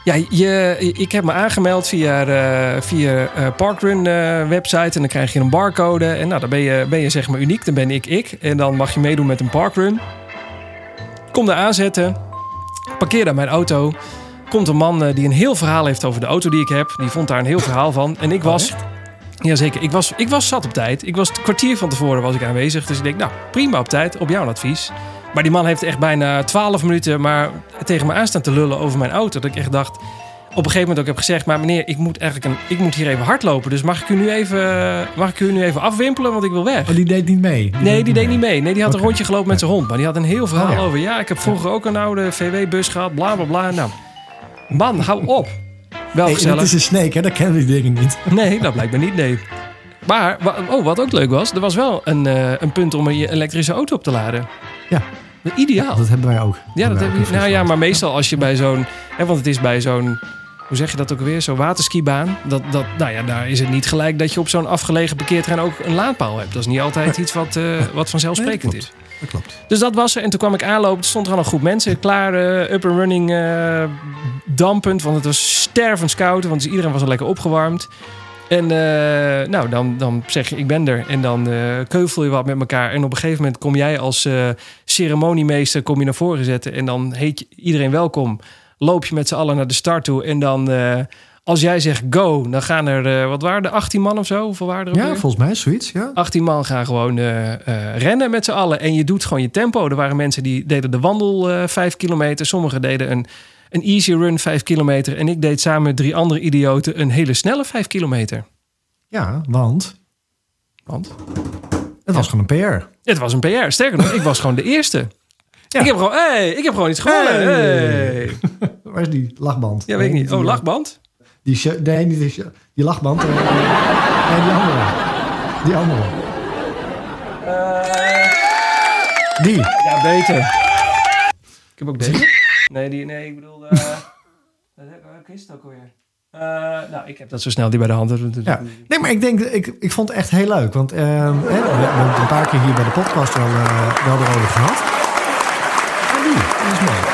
ja, je, ik heb me aangemeld via, eh, via eh, Parkrun eh, website. En dan krijg je een barcode. En nou, dan ben je, ben je zeg maar uniek. Dan ben ik ik. En dan mag je meedoen met een Parkrun. Kom daar aanzetten. Parkeer daar mijn auto. Komt een man eh, die een heel verhaal heeft over de auto die ik heb. Die vond daar een heel verhaal van. En ik was... Jazeker, ik was, ik was zat op tijd. Ik was het kwartier van tevoren was ik aanwezig. Dus ik denk, nou, prima op tijd, op jouw advies. Maar die man heeft echt bijna 12 minuten maar tegen me aan staan te lullen over mijn auto. Dat ik echt dacht, op een gegeven moment ook heb gezegd... maar meneer, ik moet, eigenlijk een, ik moet hier even hardlopen. Dus mag ik, u nu even, mag ik u nu even afwimpelen, want ik wil weg. Oh, die deed niet mee. Nee, die deed niet mee. Nee, die had een rondje gelopen met zijn hond. Maar die had een heel verhaal Oh, ja. over... ja, ik heb vroeger ook een oude VW-bus gehad, bla, bla, bla. Nou, man, hou op. Wel Hey, gezellig. dat is een snake, hè? Dat kennen die dingen niet. Nee, dat blijkbaar niet, nee. Maar, wa- oh, wat ook leuk was, er was wel een, eh, een punt om je elektrische auto op te laden. Ja. Ideaal. Nou, Dat hebben wij ook. Ja, dat heb hebben je. Nou ja, maar meestal als je bij zo'n. Hè, want het is bij zo'n. Hoe zeg je dat ook weer? Zo'n waterskibaan. Dat, dat, nou ja, daar is het niet gelijk dat je op zo'n afgelegen parkeerterrein ook een laadpaal hebt. Dat is niet altijd iets wat, eh, wat vanzelfsprekend Nee, is. Dat klopt. Dus dat was er. En toen kwam ik aanlopen. Er stond er al een groep mensen klaar. eh, up and running. eh, dampend. Want het was stervenskoud. Want dus iedereen was al lekker opgewarmd. En eh, nou, dan, dan zeg je ik ben er. En dan eh, keuvel je wat met elkaar. En op een gegeven moment kom jij als eh, ceremoniemeester kom je naar voren zetten. En dan heet je iedereen welkom. Loop je met z'n allen naar de start toe. En dan... eh, als jij zegt go, dan gaan er, eh, wat waren er, 18 man of zo? Hoeveel waren er? ook Ja, weer? volgens mij is zoiets, ja. 18 man gaan gewoon eh, eh, rennen met z'n allen. En je doet gewoon je tempo. Er waren mensen die deden de wandel eh 5 kilometer. Sommigen deden een, een easy run 5 kilometer. En ik deed samen met drie andere idioten een hele snelle 5 kilometer. Ja, want Want het was gewoon een PR. het was een PR. Sterker nog, ik was gewoon de eerste. Ja. Ik, heb gewoon, hey, ik heb gewoon iets gewonnen. Hey. Hey. Waar is die lachband? Ja, weet ik Nee, niet. Oh, die- lachband? Die, sh- nee, niet die, sh- die lachband. eh, nee, die andere. Die andere. Eh. Die. Ja, beter. Ik heb ook deze. Nee, die, nee ik bedoel... eh welke is het ook alweer? Eh, nou, ik heb dat zo snel die bij de hand. Ja. Nee, maar ik denk, ik, ik vond het echt heel leuk. Want eh, hè, we hebben het een paar keer hier bij de podcast wel, eh, wel erover gehad. Maar die, dat is mooi.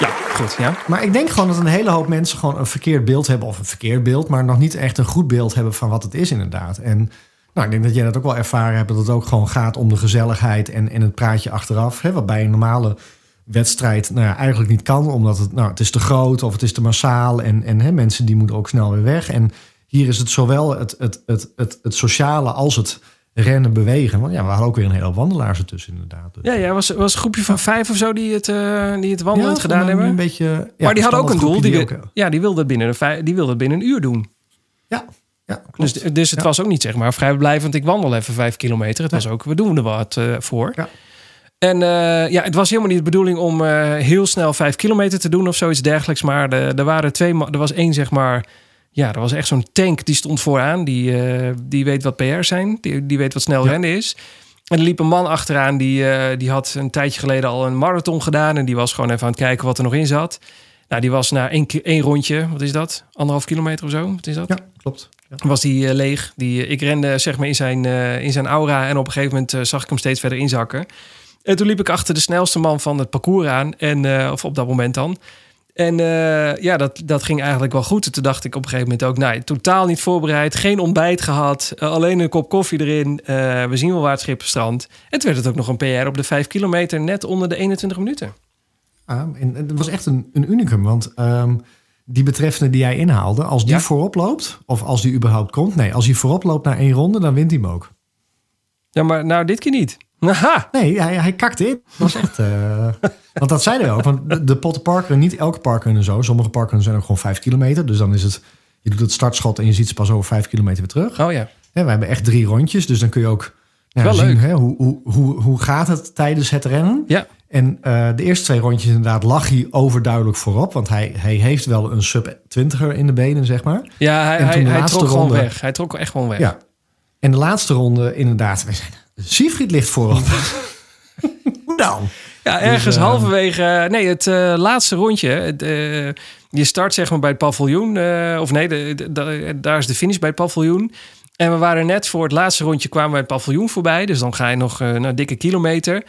ja goed. Ja. Maar ik denk gewoon dat een hele hoop mensen gewoon een verkeerd beeld hebben. Of een verkeerd beeld, maar nog niet echt een goed beeld hebben van wat het is inderdaad. En nou, ik denk dat jij dat ook wel ervaren hebt. Dat het ook gewoon gaat om de gezelligheid en, en het praatje achteraf. Hè, wat bij een normale wedstrijd nou ja, eigenlijk niet kan. Omdat het, nou, het is te groot of het is te massaal. En, en hè, mensen die moeten ook snel weer weg. En hier is het zowel het, het, het, het, het sociale als het rennen bewegen. Want ja, we hadden ook weer een hele hoop wandelaars ertussen inderdaad. Dus- Ja, ja, was, was een groepje van vijf of zo die het, eh, die het Ja, wandelend van gedaan een- hebben. Een beetje, ja, maar die hadden ook een doel. Die, standaardgroepje wi- ja, die wilde het binnen, een vij- die wilde het binnen een uur doen. Ja, ja klopt. Dus, dus het Ja. was ook niet zeg maar vrijblijvend. Ik wandel even vijf kilometer. Het was ook, we doen er wat eh, voor. Ja. En eh, ja, het was helemaal niet de bedoeling om eh, heel snel vijf kilometer te doen of zoiets dergelijks. Maar de- er waren twee, ma- er was één zeg maar. Ja, er was echt zo'n tank die stond vooraan. Die, eh, die weet wat PR's zijn. Die, die weet wat snel rennen is. En er liep een man achteraan die, eh, die had een tijdje geleden al een marathon gedaan. En die was gewoon even aan het kijken wat er nog in zat. Nou, die was na één, ki- één rondje, wat is dat? Anderhalf kilometer of zo? Wat is dat? ja, klopt. Ja. was die eh, leeg. Die, eh, ik rende zeg maar in zijn, eh, in zijn aura en op een gegeven moment eh, zag ik hem steeds verder inzakken. En toen liep ik achter de snelste man van het parcours aan, en, eh, of op dat moment dan. En eh, ja, dat, dat ging eigenlijk wel goed. En Toen dacht ik op een gegeven moment ook, nou, totaal niet voorbereid, geen ontbijt gehad, eh, alleen een kop koffie erin. eh, we zien wel waar het schip strandt. En toen werd het ook nog een PR op de 5 kilometer, net onder de 21 minuten. Ja, Ehm, en het was echt een, een unicum, want ehm, die betreffende die jij inhaalde, als die Ja. voorop loopt, of als die überhaupt komt, nee, als die voorop loopt na één ronde, dan wint hij hem ook. Ja, maar nou, dit keer niet. Aha. Nee, hij, hij kakte in. Dat was echt... eh, want dat zeiden we ook. Want de- de potten parkeren, niet elke parkeren en zo. Sommige parkeren zijn ook gewoon vijf kilometer. Dus dan is het... Je doet het startschot en je ziet ze pas over vijf kilometer weer terug. Oh ja. Hè, we hebben echt drie rondjes. Dus dan kun je ook nou, Wel zien leuk. Hè, hoe, hoe, hoe, hoe gaat het tijdens het rennen. Ja. En eh, de eerste twee rondjes inderdaad lag hij overduidelijk voorop. Want hij, hij heeft wel een sub-20er in de benen, zeg maar. Ja, hij, En toen hij, de hij laatste trok gewoon ronde. weg. Hij trok echt gewoon weg. Ja. En de laatste ronde inderdaad. wij zeiden, Siegfried ligt voorop. nou. Ja, ergens halverwege. eh, Nee, het eh, laatste rondje. het, eh, je start zeg maar bij het paviljoen. eh, of nee, de, de- de- daar is de finish bij het paviljoen. En we waren net voor het laatste rondje kwamen we het paviljoen voorbij. Dus dan ga je nog eh, nou, een dikke kilometer.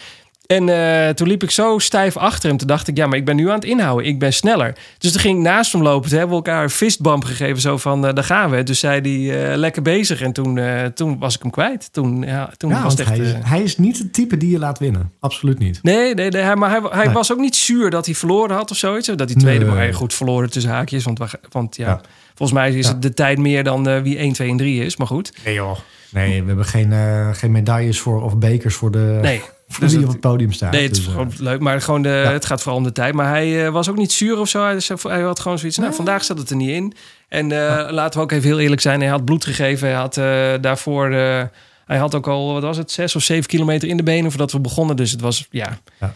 En eh, toen liep ik zo stijf achter hem. Toen dacht ik, ja, maar ik ben nu aan het inhouden. Ik ben sneller. Dus toen ging ik naast hem lopen. Toen hebben we elkaar een fistbump gegeven. Zo van, eh, daar gaan we. Dus zei hij, eh, lekker bezig. En toen, eh, toen was ik hem kwijt. Toen, ja, toen Ja, was want het echt... hij, is- eh, hij is niet het type die je laat winnen. Absoluut niet. Nee, nee, nee hij- maar hij, hij Nee. was ook niet zuur dat hij verloren had of zoiets. Dat hij tweede, Nee. maar hij goed verloren tussen haakjes. Want, we- want ja, Ja. volgens mij is Ja. het de tijd meer dan eh, wie 1, 2 en 3 is. Maar goed, Nee joh. Nee, we hebben geen, eh, geen medailles voor of bekers voor de nee. voor Dus wie op dat, het podium staat. nee, het is Dus, eh, gewoon leuk. Maar gewoon de, Ja. het gaat vooral om de tijd. Maar hij eh, was ook niet zuur of zo. Hij, zei- hij had gewoon zoiets. Nou, vandaag zat het er niet in. En eh, laten we ook even heel eerlijk zijn. Hij had bloed gegeven. Hij had eh, daarvoor... eh, hij had ook al, wat was het, zes of zeven kilometer in de benen voordat we begonnen. Dus het was, ja. Ja.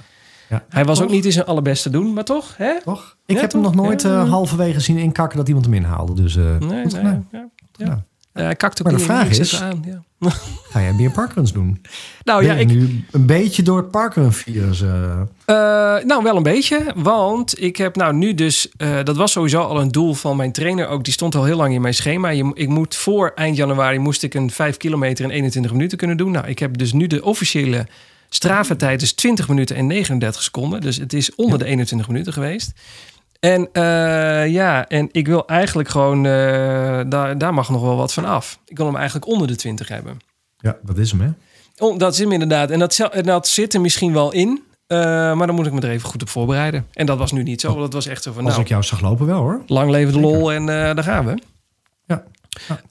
Ja. Hij was ook Toch? niet in zijn allerbeste doen, maar toch, hè? toch? Ik Ja, heb hem toch? nog nooit Ja. Hm. eh, halverwege zien inkakken dat iemand hem inhaalde. Dus eh, Nee, goed nee, gedaan. ja. ja. gedaan. Eh, hij kakt ook Maar de niet vraag niks is- even aan. Ja. ga jij meer parkruns doen? Nou ja, ben ik, je nu een beetje door het parkrun-virus. eh, eh, nou wel een beetje. Want ik heb nou nu dus... eh, dat was sowieso al een doel van mijn trainer ook. Die stond al heel lang in mijn schema. Je, ik moet voor eind januari moest ik een 5 kilometer in 21 minuten kunnen doen. Nou, ik heb dus nu de officiële Strava-tijd is 20 minuten en 39 seconden. Dus het is onder de 21 minuten geweest. En eh, ja, en ik wil eigenlijk gewoon... eh, daar, daar mag nog wel wat van af. Ik wil hem eigenlijk onder de 20 hebben. ja, dat is hem, hè? Oh, dat is hem inderdaad. En dat, zel- en dat zit er misschien wel in. eh, maar dan moet ik me er even goed op voorbereiden. En dat was nu niet zo. want Dat was echt zo van, Als nou, ik jou zag lopen wel, hoor. lang leven de lol en eh, daar gaan we. Ja.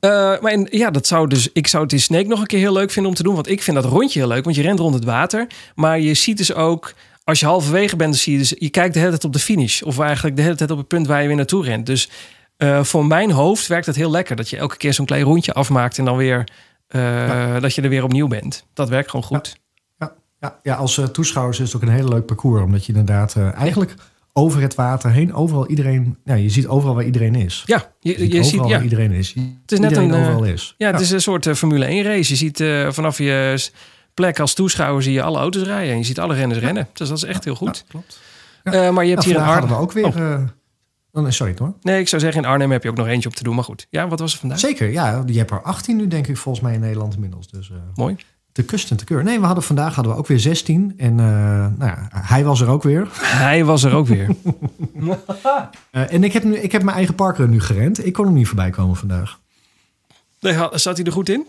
Eh, maar en, ja, dat zou dus, ik zou het in Snake nog een keer heel leuk vinden om te doen. Want ik vind dat rondje heel leuk. Want je rent rond het water. Maar je ziet dus ook, als je halverwege bent, dan zie je dus... Je kijkt de hele tijd op de finish. Of eigenlijk de hele tijd op het punt waar je weer naartoe rent. Dus eh, voor mijn hoofd werkt dat heel lekker. Dat je elke keer zo'n klein rondje afmaakt. En dan weer, eh, dat je er weer opnieuw bent. Dat werkt gewoon goed. Ja, ja, ja als eh, toeschouwers is het ook een hele leuk parcours. Omdat je inderdaad eh, eigenlijk over het water heen overal iedereen... Ja, je ziet overal waar iedereen is. Ja, Je je, ziet je ziet, overal ja. waar iedereen is. Het is net iedereen een, eh, overal is. Nou, ja, het is een soort eh, Formule 1 race. Je ziet eh, vanaf je s- plek als toeschouwer zie je alle auto's rijden. En je ziet alle renners rennen. Dus dat is echt heel goed. Ja, klopt. Eh, maar je Ja, hebt hier nou, vandaag in hadden we Arnhem... ook weer... eh, oh, nee, sorry, hoor. Nee, ik zou zeggen in Arnhem heb je ook nog eentje op te doen. Maar goed, ja, wat was er vandaag? Zeker, ja. Je hebt er 18 nu, denk ik, volgens mij in Nederland inmiddels. Dus... eh, Mooi. te kust en te keur. Nee, we hadden vandaag hadden we ook weer 16. En eh, nou ja, hij was er ook weer. Hij was er ook weer. Eh, en ik heb, nu, ik heb mijn eigen parkrun nu gerend. Ik kon hem niet voorbij komen vandaag. Nee, ha- zat hij er goed in?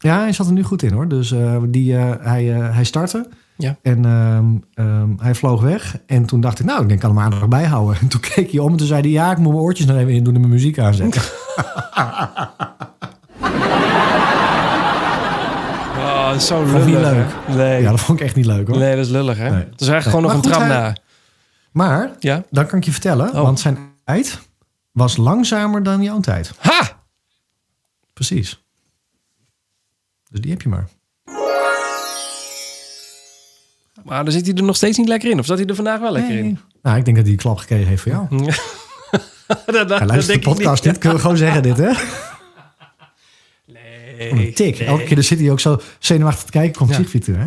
Ja, hij zat er nu goed in hoor. Dus eh, die, eh, hij, eh, hij startte. Ja. En ehm, ehm, hij vloog weg. En toen dacht ik, nou, ik denk, ik kan hem aardig bijhouden. En toen keek hij om en toen zei hij, ja, ik moet mijn oortjes nog even in doen en mijn muziek aanzetten. Oh, zo Vond lullig. je hè? leuk? Nee. ja, dat vond ik echt niet leuk hoor. nee, dat is lullig, hè? Nee. Het is eigenlijk gewoon nog Maar een goed, tram hij- na. Maar, Ja? dan kan ik je vertellen, Oh. want zijn tijd was langzamer dan jouw tijd. Ha! Precies. Dus die heb je maar. Maar dan zit hij er nog steeds niet lekker in. Of zat hij er vandaag wel lekker in? Nou, ik denk dat hij een klap gekregen heeft van jou. dat, dat, Hij luistert de podcast niet. Kunnen we gewoon zeggen dit, hè? Een Nee. tik. Elke keer dan zit hij ook zo zenuwachtig te kijken. Komt Ja. Siegfried er, hè?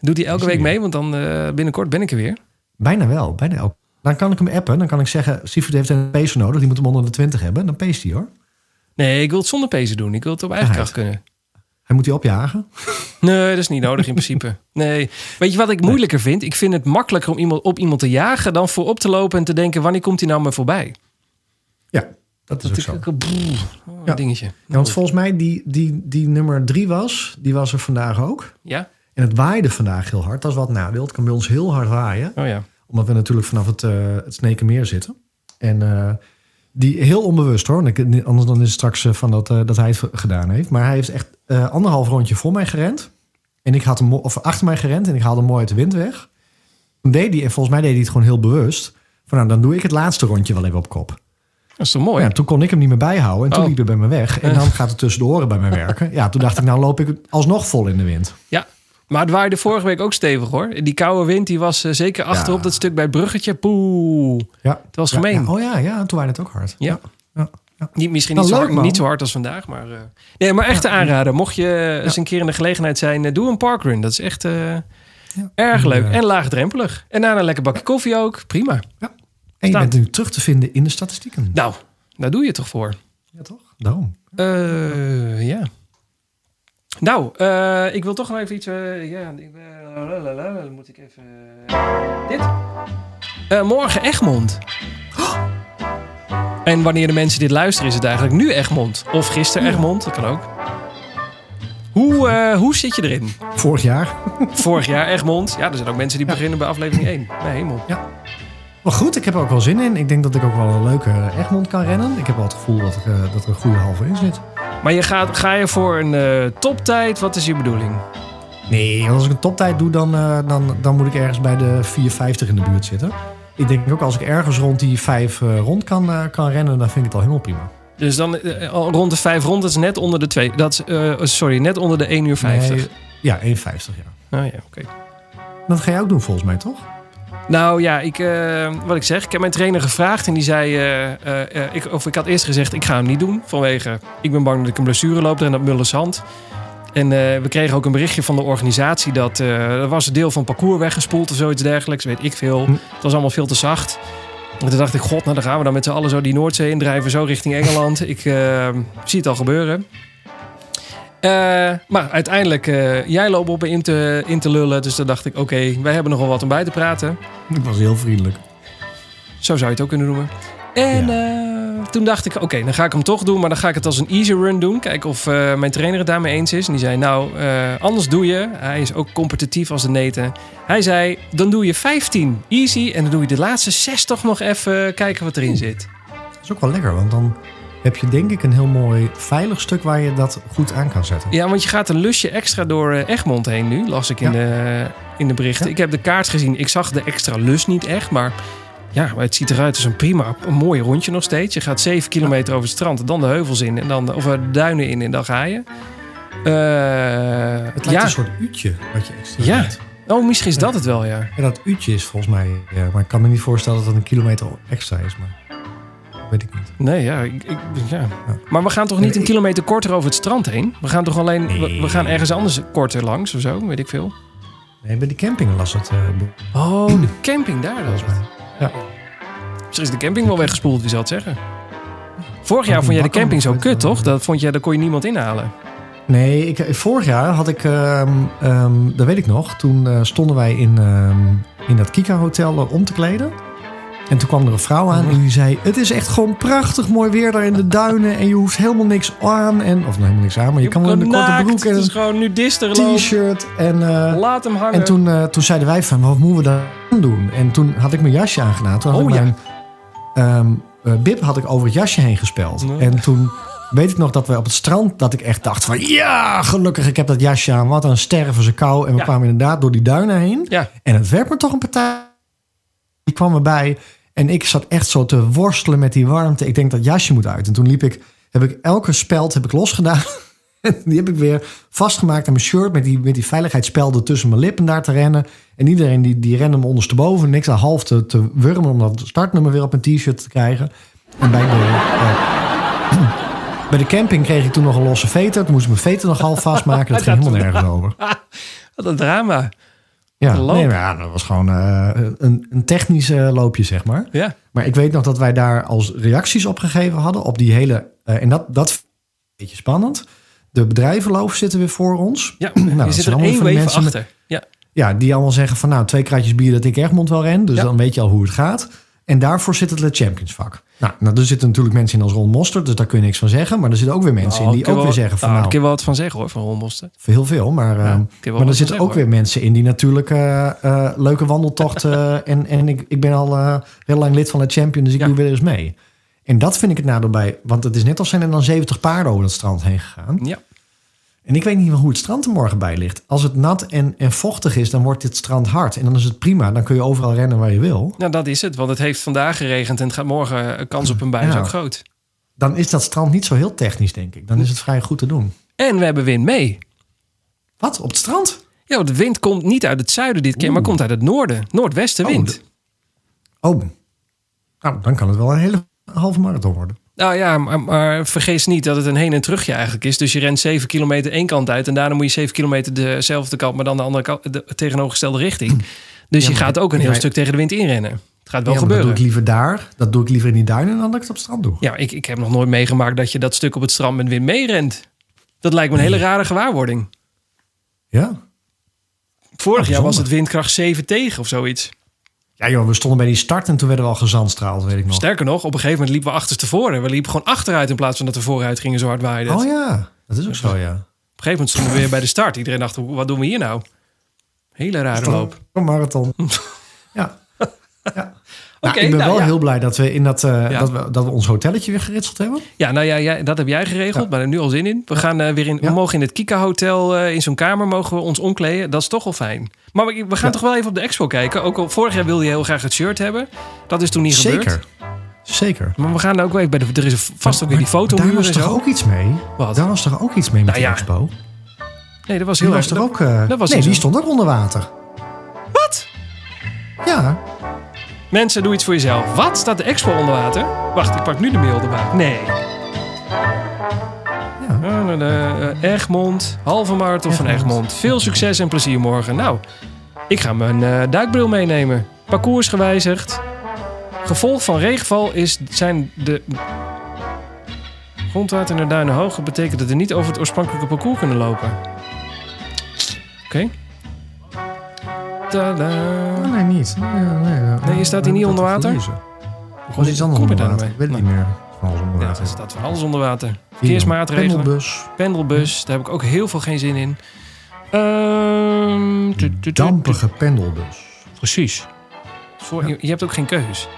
Doet hij elke week mee? Want dan eh, binnenkort ben ik er weer. Bijna wel. Bijna elke. Dan kan ik hem appen. Dan kan ik zeggen, Siegfried heeft een pacer nodig. Die moet hem onder de 20 hebben. Dan pace hij, hoor. Nee, ik wil het zonder pezen doen. Ik wil het op eigen Ja, kracht kunnen. Hij moet die opjagen. Nee, dat is niet nodig in principe. Nee. Weet je wat ik moeilijker vind? Ik vind het makkelijker om iemand op iemand te jagen dan voorop te lopen en te denken: wanneer komt hij nou maar voorbij? Ja, dat is ook Dat zo. ik ook brrr, oh, Ja. een dingetje. Ja, want volgens mij die, die, die nummer drie was, die was er vandaag ook. Ja? En het waaide vandaag heel hard. Dat is wat nadeel. Het kan bij ons heel hard waaien. Oh ja. Omdat we natuurlijk vanaf het, eh het Snekenmeer zitten. En eh, die heel onbewust hoor. Want ik- Anders dan is het straks eh, van dat, eh, dat hij het gedaan heeft. Maar hij heeft echt eh, anderhalf rondje voor mij gerend. En En ik had hem mo- of achter mij gerend en ik haalde hem mooi uit de wind weg. Dan deed hij, en volgens mij deed hij het gewoon heel bewust. Van nou, dan doe ik het laatste rondje wel even op kop. Dat is toch mooi? Ja, toen kon ik hem niet meer bijhouden. En toen Oh. Eh. liep hij bij me weg. En dan gaat het tussen de oren bij me werken. Ja, toen dacht ik, nou loop ik alsnog vol in de wind. Ja, maar het waaide vorige week ook stevig hoor. Die koude wind die was eh, zeker achterop Ja. dat stuk bij het bruggetje. Poeh. Ja. Het was Ja, gemeen. ja. Oh ja, ja, en toen waren het ook hard. Ja. ja. Niet, misschien Nou, niet, leuk, zo hard, man. niet zo hard als vandaag. Maar, eh, nee, maar echt te aanraden. Mocht je eens een keer in de gelegenheid zijn, eh, doe een parkrun. Dat is echt eh, erg leuk. En laagdrempelig. En daarna een lekker bakje koffie ook. Prima. En je Staan. bent nu terug te vinden in de statistieken. Nou, daar doe je het toch voor. Ja, toch? Daarom. Eh, ja. Nou, eh, ik wil toch nog even iets. eh, ja, ik, eh, lalalala, dan moet ik even. dit. Eh, morgen Egmond. Oh! En wanneer de mensen dit luisteren, is het eigenlijk nu Egmond. Of gisteren Egmond, dat kan ook. Hoe, eh, hoe zit je erin? Vorig jaar. Vorig jaar Egmond. Ja, er zijn ook mensen die beginnen bij aflevering 1. Bij hemel. Maar goed, ik heb er ook wel zin in. Ik denk dat ik ook wel een leuke eh, Egmond kan rennen. Ik heb wel het gevoel dat, ik, eh, dat er een goede halve in zit. Maar je gaat, ga je voor een eh, toptijd? Wat is je bedoeling? Nee, want als ik een toptijd doe, dan, eh, dan, dan moet ik ergens bij de 4,50 in de buurt zitten. Ik denk ook als ik ergens rond die 5 rond kan, eh, kan rennen, dan vind ik het al helemaal prima. Dus dan eh, al rond de 5 rond, dat is net onder de 2. Dat, is, eh, sorry, net onder de 1 uur 50. Nee, ja, 1,50 ja. Nou ja, oké. Dat ga jij ook doen volgens mij, toch? Nou ja, ik, eh, wat ik zeg, ik heb mijn trainer gevraagd en die zei, eh, eh, eh, ik, of ik had eerst gezegd, ik ga hem niet doen. Vanwege, ik ben bang dat ik een blessure loop en dat Mullers hand. En eh, we kregen ook een berichtje van de organisatie dat eh, er was een deel van het parcours weggespoeld of zoiets dergelijks. Weet ik veel. Hm. Het was allemaal veel te zacht. En toen dacht ik, god, nou dan gaan we dan met z'n allen zo die Noordzee indrijven, zo richting Engeland. ik eh, zie het al gebeuren. Eh, maar uiteindelijk, eh, jij loopt op me in te, in te lullen. Dus dan dacht ik, oké, wij hebben nogal wat om bij te praten. Ik was heel vriendelijk. Zo zou je het ook kunnen noemen. En eh, toen dacht ik, oké, dan ga ik hem toch doen. Maar dan ga ik het als een easy run doen. Kijken of eh, mijn trainer het daarmee eens is. En die zei, nou, eh, anders doe je. Hij is ook competitief als de neten. Hij zei, dan doe je 15 easy. En dan doe je de laatste 60 nog even kijken wat erin zit. Dat is ook wel lekker, want dan heb je denk ik een heel mooi veilig stuk waar je dat goed aan kan zetten. Ja, want je gaat een lusje extra door eh, Egmond heen nu, las ik in, Ja. de, in de berichten. Ja. Ik heb de kaart gezien. Ik zag de extra lus niet echt, maar ja, maar het ziet eruit als een prima, een mooi rondje nog steeds. Je gaat 7 kilometer over het strand, dan de heuvels in, en dan de, of eh, de duinen in en dan ga je. Eh, Het lijkt ja. een soort uutje wat je extra Ja. doet. Oh, misschien is dat het wel, ja. En dat uutje is volgens mij, ja, maar ik kan me niet voorstellen dat dat een kilometer extra is, maar dat weet ik niet. Nee, ja, ik, ik- ja. Maar we gaan toch niet een ik- kilometer korter over het strand heen? We gaan toch alleen, we, Nee. we gaan ergens anders korter langs of zo, weet ik veel. Nee, bij die camping las het. eh, boek, Oh, de camping daar, dat is volgens mij. Misschien is de camping wel weggespoeld, wie zal het zeggen? Vorig jaar Een vond jij de bakker camping zo met, kut, eh, toch? Dat vond jij, daar kon je niemand inhalen. Nee, ik, eh, vorig jaar had ik, ehm, ehm, dat weet ik nog, toen eh, stonden wij in, ehm, in dat Kika Hotel eh, om te kleden. En toen kwam er een vrouw aan en die zei: Het is echt gewoon prachtig mooi weer daar in de duinen. En je hoeft helemaal niks aan. En, of nou, helemaal niks aan, maar je, kan wel in een korte Naakt, broek en Het is een gewoon nu disterloop. t-shirt. En, eh, Laat hem hangen. en toen, eh, toen zeiden wij: van, Wat moeten we dan doen? En toen had ik mijn jasje aangedaan. Toen had Oh, ik ja. mijn ehm, eh, bib had ik over het jasje heen gespeld. Nee. En toen weet ik nog dat we op het strand... dat ik echt dacht van... ja, gelukkig, ik heb dat jasje aan. Wat een sterven ze kou. En we Ja. kwamen inderdaad door die duinen heen. Ja. En het werd me toch een partij. Die kwam erbij. En ik zat echt zo te worstelen met die warmte. Ik denk, dat jasje moet uit. En toen liep ik... heb ik elke speld heb ik losgedaan... En Die heb ik weer vastgemaakt aan mijn shirt met die, met die veiligheidsspelden tussen mijn lippen daar te rennen. En iedereen die, die rende me ondersteboven. Niks aan half te, te wurmen om dat startnummer weer op mijn t-shirt te krijgen. En bij de, eh, bij de camping kreeg ik toen nog een losse veter. Toen moest ik mijn veter nog half vastmaken. Dat ging helemaal nergens over. Wat een drama. Ja, Een loop. nee, maar ja, dat was gewoon eh, een, een technisch eh, loopje, zeg maar. Ja. Maar ik weet nog dat wij daar als reacties op gegeven hadden. Op die hele. eh, en dat, dat vind ik een beetje spannend. De bedrijvenloof zitten weer voor ons. Nou, ja. dat er zijn zit er allemaal één van die weef mensen met- achter. Ja. Ja, die allemaal zeggen van nou, twee kratjes bier dat ik Egmond wel ren. Dus Ja. dan weet je al hoe het gaat. En daarvoor zit het Le Champions vak. Nou, nou, er zitten natuurlijk mensen in als Ron Mostert, dus daar kun je niks van zeggen. Maar er zitten ook weer mensen in die ook weer zeggen van nou, nou, Ik kan wel wat van zeggen hoor, van Holmosten. voor heel veel. Maar, ehm, kun je wel maar er wat zitten van ook weer zeggen, mensen in die natuurlijk eh, eh, leuke wandeltochten. eh, en en ik, ik ben al eh, heel lang lid van de Champion, dus ik Ja. doe weer eens mee. En dat vind ik het nadeel bij. Want het is net als zijn er dan 70 paarden over dat strand heen gegaan. Ja. En En ik weet niet hoe het strand er morgen bij ligt. Als het nat en, en vochtig is, dan wordt dit strand hard. En dan is het prima. Dan kun je overal rennen waar je wil. Nou, dat is het. Want het heeft vandaag geregend en het gaat morgen eh, kans op een bui is Ja. ook groot. Dan is dat strand niet zo heel technisch, denk ik. Dan is het vrij goed te doen. En we hebben wind mee. Wat? Op het strand? Ja, want de wind komt niet uit het zuiden dit keer, maar komt uit het noorden. Noordwestenwind. Oh, Oh, nou, dan kan het wel een hele halve marathon worden. Nou ja, maar, maar vergis niet dat het een heen- en terugje eigenlijk is. Dus je rent 7 kilometer één kant uit... en daarna moet je 7 kilometer dezelfde kant... maar dan de andere kant, de tegenovergestelde richting. Dus je gaat ook een heel maar- stuk tegen de wind inrennen. Het gaat wel Ja, maar Dat doe gebeuren. ik liever daar. Dat doe ik liever in die duinen dan dat ik het op het strand doe. Ja, ik, ik heb nog nooit meegemaakt dat je dat stuk op het strand met wind meerent. Dat lijkt me een hele rare gewaarwording. Ja. Vorig jaar was bijzonder. het windkracht 7 tegen of zoiets. Oh. Ja joh, we stonden bij die start en toen werden we al gezandstraald, weet ik nog. Sterker nog, op een gegeven moment liepen we achterstevoren. We liepen gewoon achteruit in plaats van dat we vooruit gingen zo hard waaide. Oh ja, dat is ook zo, ja. Op een gegeven moment stonden we weer bij de start. Iedereen dacht, "Hoe- wat doen we hier nou? Hele rare loop. Een marathon. Ja. ja. Nou, Oké, ik ben nou wel ja. heel blij dat we, in dat, eh, Ja. dat, we, dat we ons hotelletje weer geritseld hebben. Ja, nou ja, jij- dat heb jij geregeld, maar daar heb ik nu al zin in. We, gaan, eh, weer in, we Ja. mogen in het Kika Hotel, eh, in zo'n kamer, mogen we ons omkleden. Dat is toch wel fijn. Maar we, we gaan toch wel even op de expo kijken. Ook al vorig jaar wilde je heel graag het shirt hebben. Dat is toen niet gebeurd. Zeker. Zeker. Maar we gaan ook weer bij de... Er is vast ook weer die foto Daar en was zo. toch ook iets mee? Wat? Daar was toch ook iets mee met Nou die ja, expo? Nee, dat was Die heel was erg... er ook... eh, dat was nee, niet zo. die stond ook onder water. Wat? Ja. Mensen, doe iets voor jezelf. Wat? Staat de expo onder water? Wacht, ik pak nu de mail erbij. Nee. Eh, eh, eh, Egmond, halve marathon van Egmond. Egmond. Veel succes en plezier morgen. Nou, ik ga mijn eh, duikbril meenemen. Parcours gewijzigd. Gevolg van regenval is, zijn de... Grondwater naar duinen hoog. Dat betekent dat we niet over het oorspronkelijke parcours kunnen lopen. Oké. Tadaa. Oh, nee, niet. Ja, nee, ja. Nee, staat die niet Dat onder dat water? verliezen. Of is iets anders Kom je daar onder water? nou mee? Ik weet het niet meer. Van alles onder Ja, water. er staat van alles onder water. Hier, Verkeersmaatregelen. Pendelbus. Pendelbus, daar heb ik ook heel veel geen zin in. Ehm, tu- tu- tu- Dampige pendelbus. tu- Precies. Voor, je, je hebt ook geen keus.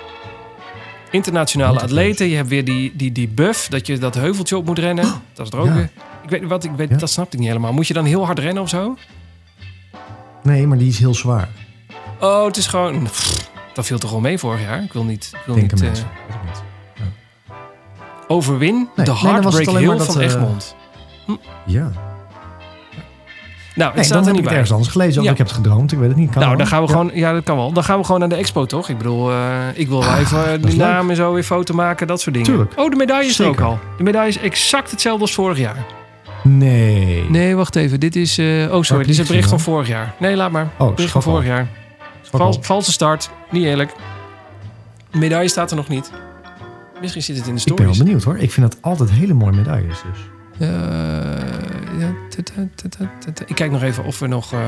Internationale atleten, je hebt weer die, die, die buff, dat je dat heuveltje op moet rennen. Dat is er ook Oh. Ja. weer. Ik weet, wat, ik weet, Ja. Dat snapte ik niet helemaal. Moet je dan heel hard rennen of zo? Nee, maar die is heel zwaar. Oh, het is gewoon... Pff, dat viel toch al mee vorig jaar? Ik wil niet, ik wil Denken niet eh, mensen. Weet ik niet. overwin. nee, dan de was het Heartbreak alleen maar Hill dat, van eh, Egmond. Ja. Nou, het Nee, staat er dan heb niet ik het bij. ergens anders gelezen. Of Ja. ik heb het gedroomd. Ik weet het niet. Kan nou, wel. dan gaan we Ja. gewoon. Ja, dat kan wel. Dan gaan we gewoon naar de expo, toch? Ik bedoel, eh, ik wil wel even eh, Ah, is die leuk. naam en zo weer foto maken, dat soort dingen. Tuurlijk. Oh, de medaille is er ook Zeker. al. De medaille is exact hetzelfde als vorig jaar. Nee. Nee, wacht even. Dit is. eh, oh, ik sorry. Dit is niet het bericht van gezien, vorig jaar. Nee, laat maar. Oh, bericht van schat al. vorig jaar. Fuck Vals- off. valse start. Niet eerlijk. De medaille staat er nog niet. Misschien zit het in de ik ben wel stories. benieuwd hoor. Ik vind dat altijd hele mooie medailles. Dus. Eh, ja, ta- ta- ta- ta- ta- ta. Ik kijk nog even of we nog. eh,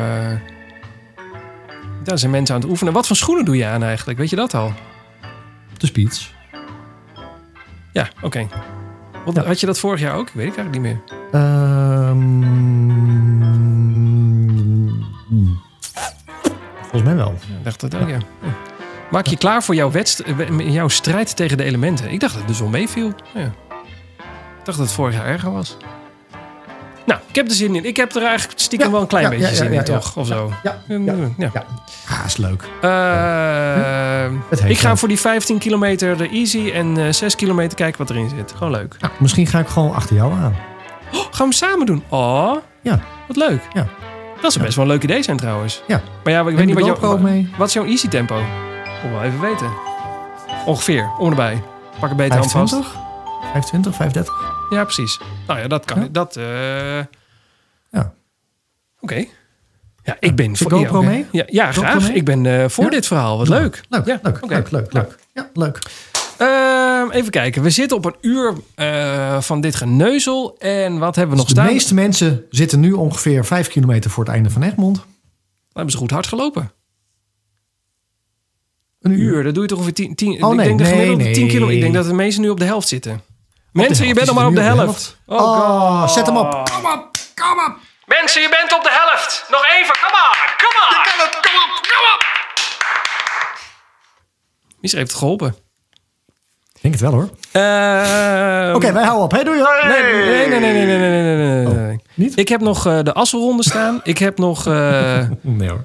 Daar zijn mensen aan het oefenen. Wat voor schoenen doe je aan eigenlijk? Weet je dat al? De speeds. Ja, oké. Want Ja. Had je dat vorig jaar ook? Weet ik eigenlijk niet meer. Ehm, volgens mij wel. Ik dacht dat ook, ja. Hm. Maak je klaar voor jouw, wedst- eh, we- jouw strijd tegen de elementen. Ik dacht dat het dus al meeviel. Ja. Ik dacht dat het vorig jaar erger was. Nou, ik heb er zin in. Ik heb er eigenlijk stiekem Ja, wel een klein ja, beetje ja, ja, zin ja, in, ja. toch? Of zo. Ja. Ja. Ja. Ah, is leuk. Eh, Het heeft ik ga wel. voor die 15 kilometer de easy en eh 6 kilometer kijken wat erin zit. Gewoon leuk. Nou, misschien ga ik gewoon achter jou aan. Oh, gaan we hem samen doen? Oh, Ja. wat leuk. Ja. Dat zou best wel een leuk idee zijn trouwens. Ja. Maar ja, ik Neem weet niet de wat GoPro jouw... ook mee. Wat is jouw easy tempo? Kom wel even weten. Ongeveer, om erbij. Pak een beter aan vast. 25? 25, 35? Ja, precies. Nou ja, dat kan. Ja. Dat, eh, Ja. Oké. Eh, Ja, ik ben... voor- GoPro ja, oké. mee? Ja, ja GoPro graag. mee? Ik ben eh, voor Ja. dit verhaal. Wat leuk. Leuk, ja, leuk, oké. leuk, leuk, Ja. leuk. Ja, leuk. Ehm, even kijken. We zitten op een uur eh, van dit geneuzel. En wat hebben we nog Dus De staan? meeste mensen zitten nu ongeveer 5 kilometer voor het einde van Egmond. Dan Nou, hebben ze goed hard gelopen. Een uur. uur. Dat doe je toch ongeveer 10 tien. Oh, ik nee, denk de nee, gemiddelde 10 nee. kilo. Ik denk dat de meesten nu op de helft zitten. Mensen, je bent nog nog maar op de helft. Oh, zet hem op. Kom op, kom op. Mensen, je bent op de helft. Nog even. Kom maar. Kom maar. Kom op. Kom op. Kom op. Wie heeft het geholpen? Ik denk het wel hoor. Oké, wij houden op. Hey, doei. Nee, nee, nee, nee, nee, nee, nee, nee, nee, nee, nee. Oh, Niet? Ik heb nog eh, de Asselronde staan. Ik heb nog... eh, eh, Nee hoor.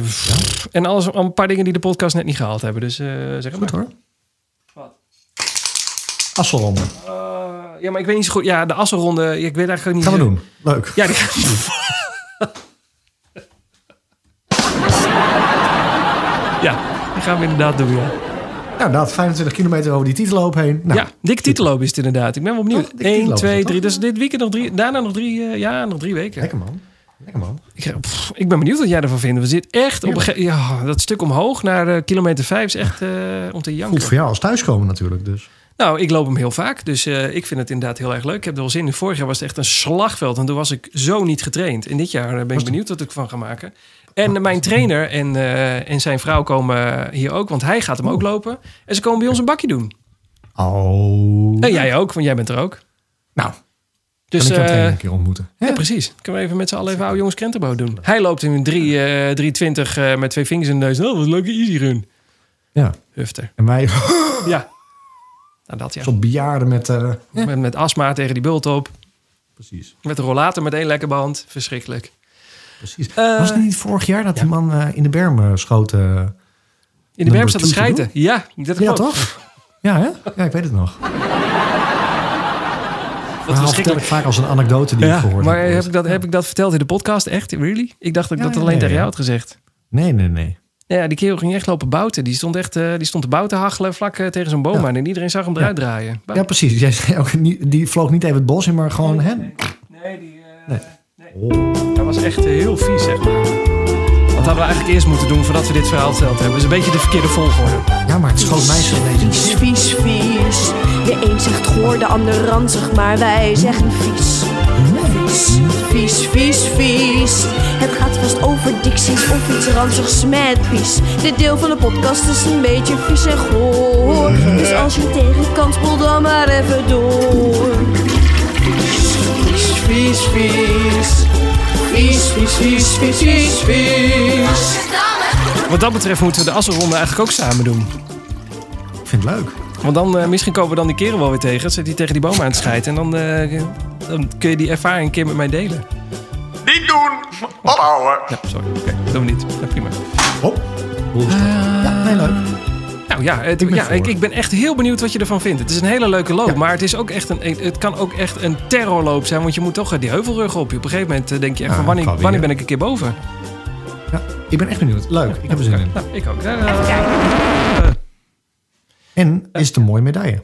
pff, en alles, een paar dingen die de podcast net niet gehaald hebben. Dus eh, zeg het maar. Goed hoor. Wat? Asselronde. Eh, ja, maar ik weet niet zo goed. Ja, de Asselronde. Ik weet eigenlijk niet... Gaan we zo- doen. Leuk. Ja, die gaan we doen. ja, die gaan we inderdaad doen, ja. Nou, dat 25 kilometer over die titelloop heen. Nou, ja, dik titelloop is het inderdaad. Ik ben wel benieuwd. Toch? Dik 1, titelloop Oh, is 2, het, 3. Dus dit weekend nog drie. Daarna nog drie, eh, ja, nog drie weken. lekker man. Lekker man. Ik, pff, ik ben benieuwd wat jij ervan vindt. We zitten echt op een ge- ja, dat stuk omhoog naar eh, kilometer 5 is echt eh, om te janken. Goed voor jou als thuiskomen natuurlijk dus. Nou, ik loop hem heel vaak, dus eh, ik vind het inderdaad heel erg leuk. Ik heb er wel zin in. Vorig jaar was het echt een slagveld en toen was ik zo niet getraind. En dit jaar eh, ben ik benieuwd wat ik van ga maken. En eh, mijn trainer en, eh, en zijn vrouw komen hier ook, want hij gaat hem ook lopen. En ze komen bij ons een bakje doen. Oh. En jij ook, want jij bent er ook. Nou, Dus kan ik jou eh, trainen een keer ontmoeten. ja, precies. Kunnen we even met z'n allen even oude jongens krentenboot doen. Hij loopt in een drie, eh, 320 eh, met twee vingers in de neus. Oh, wat een leuke easy run. Ja. Hufter. En wij Ja. Nou, dat ja. zo'n bejaarden met... eh, Met, met astma tegen die bult op. Precies. Met een rollator met één lekker band. Verschrikkelijk. Precies. Eh, Was het niet vorig jaar dat die man eh, in de berm eh, schoot? eh? In de berm staat te two te schijten. Ja, dat ja, klopt. toch? Ja, hè? Ja, ik weet het nog. Dat Dat was vertel ik verschrikkelijk. vaak als een anekdote die ik Ja, gehoord maar heb. heb ik, dat, heb ik dat verteld in de podcast? Echt? Really? Ik dacht dat ik Ja, dat ja, alleen ja, tegen ja. jou had gezegd. Nee, nee, nee. Ja, die kerel ging echt lopen bouten. Die stond echt eh, die stond te bouten hachelen vlak eh, tegen zo'n boom Ja. aan. En iedereen zag hem eruit draaien. Ja, precies. Jij zei ook, niet- die vloog niet even het bos in, maar gewoon hen. Nee, die... eh, Nee. nee. Oh. Dat was echt eh, heel vies, zeg maar. Dat hadden we eigenlijk eerst moeten doen voordat we dit verhaal verteld hebben. is een beetje de verkeerde volgorde. Ja, maar het schoot mij zo beetje. Vies, vies, vies. De een zegt goor, de ander ranzig, maar wij zeggen vies. Vies, vies, vies, vies. Het gaat vast over dicties of iets ranzigs met vies. Dit deel van de podcast is een beetje vies en goor. Dus als je tegen kan, spoel dan maar even door. Vies, vies, vies. Vies, vies, vies, vies, vies, vies. Wat dat betreft moeten we de assenronde eigenlijk ook samen doen. Ik vind het leuk. Want dan, eh, misschien komen we dan die kerel wel weer tegen. Dan Zit hij tegen die boom aan het schijten. En dan, eh, dan kun je die ervaring een keer met mij delen. Niet doen! Ophouden! Ja, sorry. Oké, doen we niet. Ja, prima. Hop. Boel is dat. Eh. ja, nee, leuk. Nou ja, het, Ik ben ja voor. ik, ik ben echt heel benieuwd wat je ervan vindt. Het is een hele leuke loop. Maar het, is ook echt een, het kan ook echt een terrorloop zijn. Want je moet toch eh, die heuvelrug op. Op een gegeven moment eh, denk je echt Ja, van wanneer, Ah, kan weer. wanneer ben ik een keer boven? Ja, ik ben echt benieuwd. Leuk. Ik heb er zin in. Nou, ik ook. Eh, En is het een mooie medaille?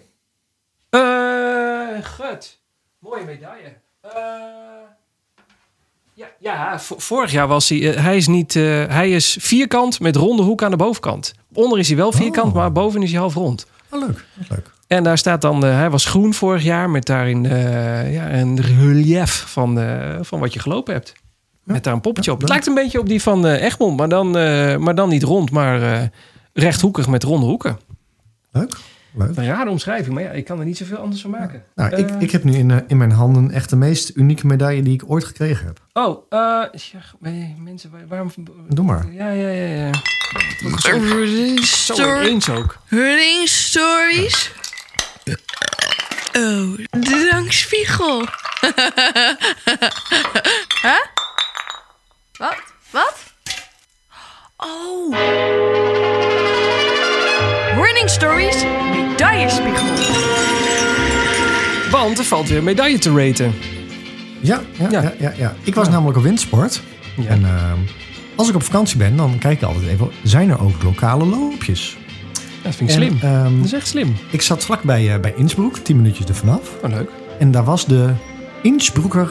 Eh, gut. Mooie medaille. Eh, ja, ja v- vorig jaar was hij... eh, hij, is niet, eh, hij is vierkant met ronde hoek aan de bovenkant. Onder is hij wel vierkant, Oh. maar boven is hij half rond. Oh, leuk. Leuk. En daar staat dan... eh, hij was groen vorig jaar met daarin eh, ja, een relief van, eh, van wat je gelopen hebt. Met daar een poppetje op. Het lijkt een beetje op die van eh, Egmond, maar dan, eh, maar dan niet rond, maar eh, rechthoekig met ronde hoeken. Leuk. Leuk. Een rare omschrijving, maar ja, ik kan er niet zoveel anders van maken. Nou, ik, Eh, ik heb nu in, eh, in mijn handen echt de meest unieke medaille die ik ooit gekregen heb. Oh, eh ja, nee, mensen, waar- waarom... Doe maar. Ja, ja, ja, ja. Zo eens ook. Running stories. Oh, de dankspiegel. huh? Wat? Wat? Oh. Running Stories, medaillespiegel. Want er valt weer een medaille te raten. Ja, ja, Ja. ja. ja, ja, Ik was namelijk op windsport. Ja. En ehm, als ik op vakantie ben, dan kijk ik altijd even... zijn er ook lokale loopjes? Dat vind ik slim. En, ehm, dat is echt slim. ik zat vlakbij eh, bij Innsbruck, tien minuutjes ervan af. Oh, leuk. En daar was de Innsbrucker Nou,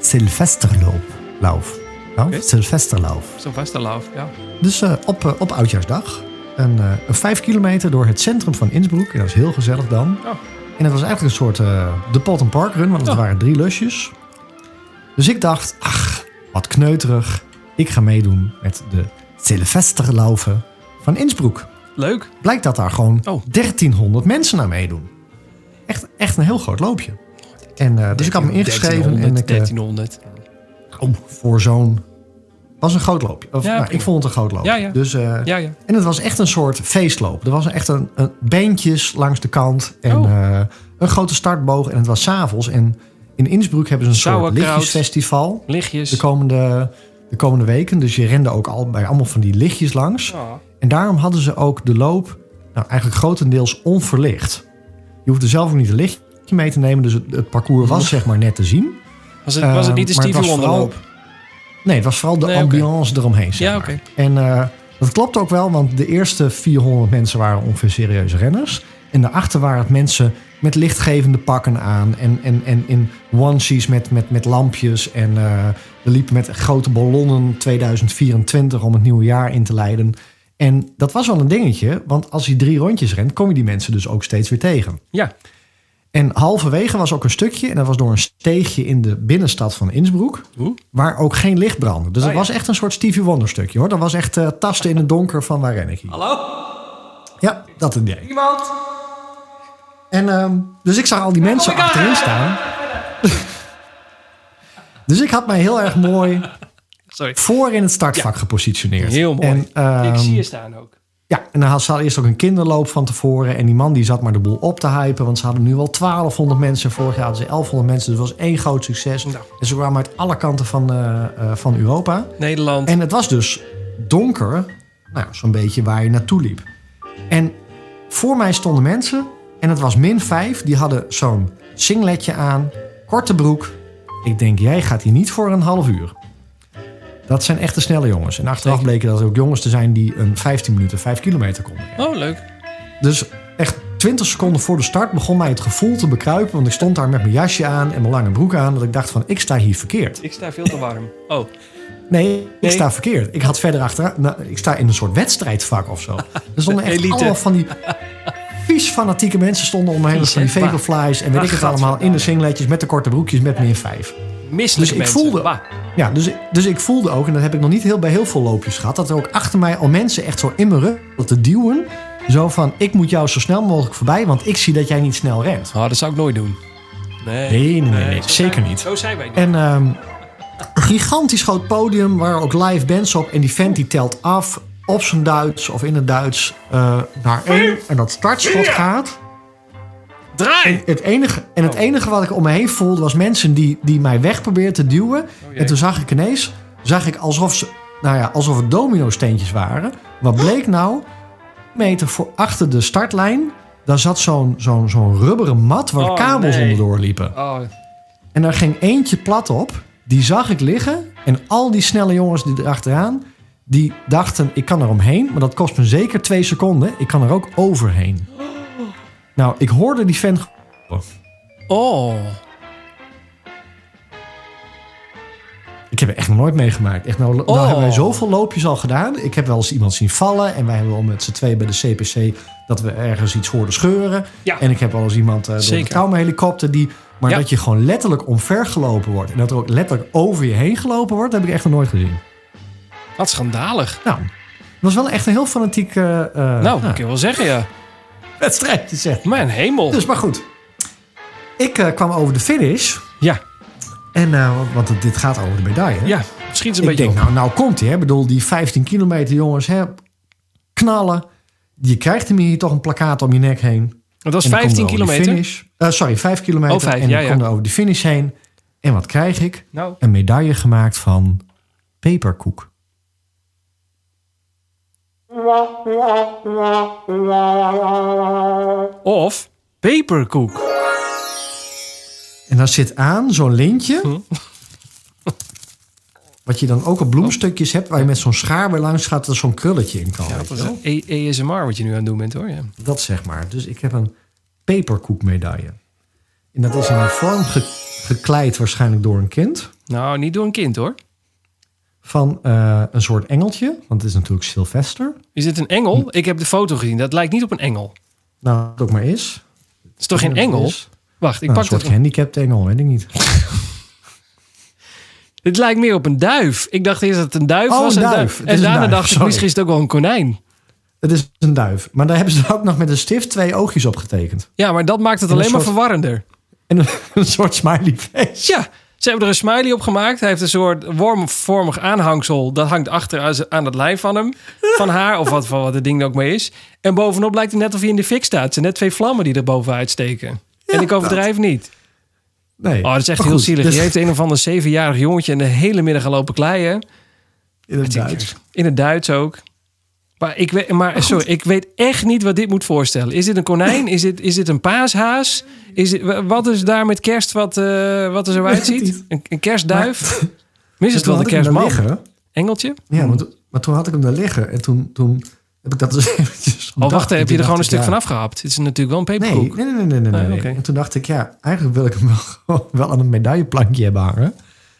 Silvesterloop. Lauf. Lauf? Oké. Silvesterlauf. Zo vast de love, ja. Dus eh, op, eh, op Oudjaarsdag. Een, eh, een vijf kilometer door het centrum van Innsbruck. En dat is heel gezellig dan. Oh. En het was eigenlijk een soort eh, de pot en park run. Want het Oh. waren drie lusjes. Dus ik dacht, ach, wat kneuterig. Ik ga meedoen met de Silvesterlaufen van Innsbruck. Leuk. Blijkt dat daar gewoon Oh. 1300 mensen aan meedoen. Echt, echt een heel groot loopje. En, eh, dus ik had me ingeschreven. En ik, eh, 1300. oh, voor zo'n... was een groot loopje. Of, Ja, nou, prima. ik vond het een groot loopje. Ja, ja. Dus eh, Ja, ja. en het was echt een soort feestloop. Er was echt een, een bandjes langs de kant en Oh. eh, een grote startboog. En het was s'avonds. En In Innsbruck hebben ze een soort Sauerkraut. lichtjesfestival. Lichtjes. De komende, de komende weken. Dus je rende ook al bij allemaal van die lichtjes langs. Oh. En daarom hadden ze ook de loop nou, eigenlijk grotendeels onverlicht. Je hoefde zelf ook niet een lichtje mee te nemen. Dus het, het parcours Mm. was zeg maar net te zien. Was het, was het niet de Eh, maar Stevie het was Wonder vooral- loop? Nee, het was vooral de Nee, oké. ambiance eromheen. Zeg Ja, maar. oké. En eh, dat klopt ook wel, want de eerste 400 mensen waren ongeveer serieuze renners. En daarachter waren het mensen met lichtgevende pakken aan. En, en, en in onesies met, met, met lampjes. En eh, we liepen met grote ballonnen 2024 om het nieuwe jaar in te leiden. En dat was wel een dingetje, want als je drie rondjes rent, kom je die mensen dus ook steeds weer tegen. Ja. En halverwege was ook een stukje, en dat was door een steegje in de binnenstad van Innsbruck, Oeh. waar ook geen licht brandde. Dus Ah, het ja. was echt een soort Stevie Wonder stukje hoor. Dat was echt eh, tasten in het donker van waar ren ik hier. Hallo? Ja, dat idee. Iemand? En, ehm, dus ik zag al die mensen my God. achterin staan. dus ik had mij heel erg mooi Sorry. voor in het startvak gepositioneerd. Heel mooi. En, ehm, Ik zie je staan ook. Ja, en dan had ze eerst ook een kinderloop van tevoren. En die man die zat maar de boel op te hypen. Want ze hadden nu al 1200 mensen. Vorig jaar hadden ze 1100 mensen. Dus het was één groot succes. Nou. En ze kwamen uit alle kanten van, eh, eh, van Europa. Nederland. En het was dus donker. Nou, zo'n beetje waar je naartoe liep. En voor mij stonden mensen. En het was min 5. Die hadden zo'n singletje aan. Korte broek. Ik denk, jij gaat hier niet voor een half uur. Dat zijn echte snelle jongens. En achteraf Zeker. bleken dat er ook jongens te zijn die een 15 minuten 5 kilometer konden. Oh, leuk. Dus echt 20 seconden voor de start begon mij het gevoel te bekruipen. Want ik stond daar met mijn jasje aan en mijn lange broek aan. Dat ik dacht van, ik sta hier verkeerd. Ik sta veel te warm. Oh, Nee, ik Nee. sta verkeerd. Ik had verder achteraan... nou, ik sta in een soort wedstrijdvak of zo. Er stonden echt Elite. allemaal van die vies fanatieke mensen stonden om me heen. Vies, Van die hè? Bah. vaporflies en weet Ach, ik het allemaal. In de gadverdamme. singletjes met de korte broekjes met min 5. misselijke Dus ik mensen. voelde- Bah. Ja, dus, dus ik voelde ook, en dat heb ik nog niet heel bij heel veel loopjes gehad, dat er ook achter mij al mensen echt zo in mijn rug te duwen. Zo van, ik moet jou zo snel mogelijk voorbij, want ik zie dat jij niet snel rent. Oh, dat zou ik nooit doen. Nee, Nee, nee, nee, nee, zo zijn zeker wij- niet. Zo zijn wij niet. En ehm, een gigantisch groot podium waar ook live bands op. En die vent die telt af op zijn Duits of in het Duits eh, naar één. En dat startschot gaat. Draai! Het enige, en Oh. het enige wat ik om me heen voelde was mensen die, die mij weg probeerden te duwen. Oh, jee. en toen zag ik ineens, zag ik alsof, ze, nou ja, alsof het domino-steentjes waren. Wat bleek nou? Een meter voor achter de startlijn, daar zat zo'n zo'n zo'n rubberen mat waar de Oh, kabels nee. onderdoor liepen. Oh, En daar ging eentje plat op. Die zag ik liggen. En al die snelle jongens die erachteraan, die dachten, ik kan er omheen. Maar dat kost me zeker twee seconden. Ik kan er ook overheen. Nou, ik hoorde die fan... oh. Ik heb het echt nog nooit meegemaakt. Echt, nou, nou Oh. hebben wij zoveel loopjes al gedaan. Ik heb wel eens iemand zien vallen. En wij hebben al met z'n twee bij de CPC... dat we ergens iets hoorden scheuren. Ja. En ik heb wel eens iemand eh, door Zeker. de traumahelikopter... die, maar Ja. dat je gewoon letterlijk omvergelopen wordt... en dat er ook letterlijk over je heen gelopen wordt... dat heb ik echt nog nooit gezien. Wat schandalig. Nou, het was wel echt een heel fanatiek eh, eh, nou, nou, ik wil wel zeggen, ja. wedstrijdje, zeg. Mijn hemel. Dus, maar goed. Ik eh, kwam over de finish. Ja, En, eh, want het- dit gaat over de medaille. ja. Misschien is het een ik beetje denk, op. nou, nou komt hij. Ik bedoel, die 15 kilometer, jongens, hè, knallen. Je krijgt hem hier toch een plakkaat om je nek heen. Want dat is En dan 15 komen we over de kilometer. Finish. Eh, sorry, 5 kilometer. Oh, vijf, en dan ja, ja. kom je over de finish heen. En wat krijg ik? Nou, Een medaille gemaakt van peperkoek. of peperkoek. En daar zit aan zo'n lintje. Hm. Wat je dan ook op bloemstukjes hebt, waar je met zo'n schaar weer langs gaat, er zo'n krulletje in kan. Dat weet je is wel? een E- ASMR wat je nu aan het doen bent, hoor. Ja. Dat zeg maar. Dus ik heb een peperkoekmedaille. En dat is in een vorm ge- gekleid, waarschijnlijk door een kind. Nou, niet door een kind, hoor. Van eh, een soort engeltje, want het is natuurlijk Sylvester. Is dit een engel? Hm. Ik heb de foto gezien. Dat lijkt niet op een engel. Nou, wat het ook maar is. Het is toch geen Ja, Oh, dat engel? is. Wacht, ik Nou, pak een soort dat. gehandicapt engel, weet ik niet. Dit lijkt meer op een duif. Ik dacht eerst dat het een duif Oh, was. een en duif. Het En is een daarna duif, dacht ik, sorry. misschien is het ook wel een konijn. Het is een duif. Maar daar hebben ze ook nog met een stift twee oogjes op getekend. Ja, maar dat maakt het En een alleen maar soort- verwarrender. En een, een soort smiley face. Ja, ze hebben er een smiley op gemaakt. Hij heeft een soort wormvormig aanhangsel. Dat hangt achter aan z- aan het lijf van hem. Van haar, of wat, van wat het ding ook mee is. En bovenop lijkt het net of hij in de fik staat. Het zijn net twee vlammen die er bovenuit steken. en ik overdrijf niet. Nee. Oh, dat is echt Maar heel goed, zielig. dus- Je heeft een of ander zevenjarig jongetje en de hele middag gelopen kleien. In het Duits. In het Duits ook. Maar, ik weet, maar sorry, ik weet echt niet wat dit moet voorstellen. Is dit een konijn? Is dit, is dit een paashaas? Is dit, wa- wat is daar met kerst wat, eh, wat er zo uitziet? Een, een kerstduif? Mis het Toen wel een had ik hem daar kerstman? Hmm. liggen. Engeltje? Oh, Ja, maar, toen- maar toen had ik hem daar liggen. En toen, toen heb ik dat dus eventjes... Oh, wacht, bedacht. En heb je toen er gewoon dacht een ik, stuk ja, van afgehapt? Het is natuurlijk wel een peperkoek. Nee, nee, nee, nee, nee, nee, Nee, nee. oké. En toen dacht ik, ja, eigenlijk wil ik hem wel, gewoon wel aan een medailleplankje hebben hangen.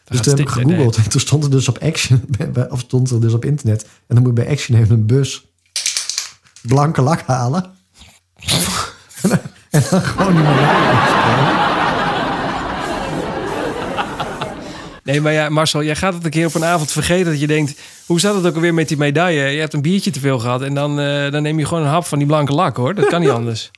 Dus gaat toen heb ik stik- nee, gegoogeld en toen stond er dus op Action, of stond er dus op internet. En dan moet je bij Action even een bus blanke lak halen. en, dan- en dan gewoon die medaille. Nee, maar ja, Marcel, jij gaat het een keer op een avond vergeten dat je denkt... hoe zat het ook alweer met die medaille? Je hebt een biertje te veel gehad en dan, eh, dan neem je gewoon een hap van die blanke lak, hoor. Dat kan niet anders.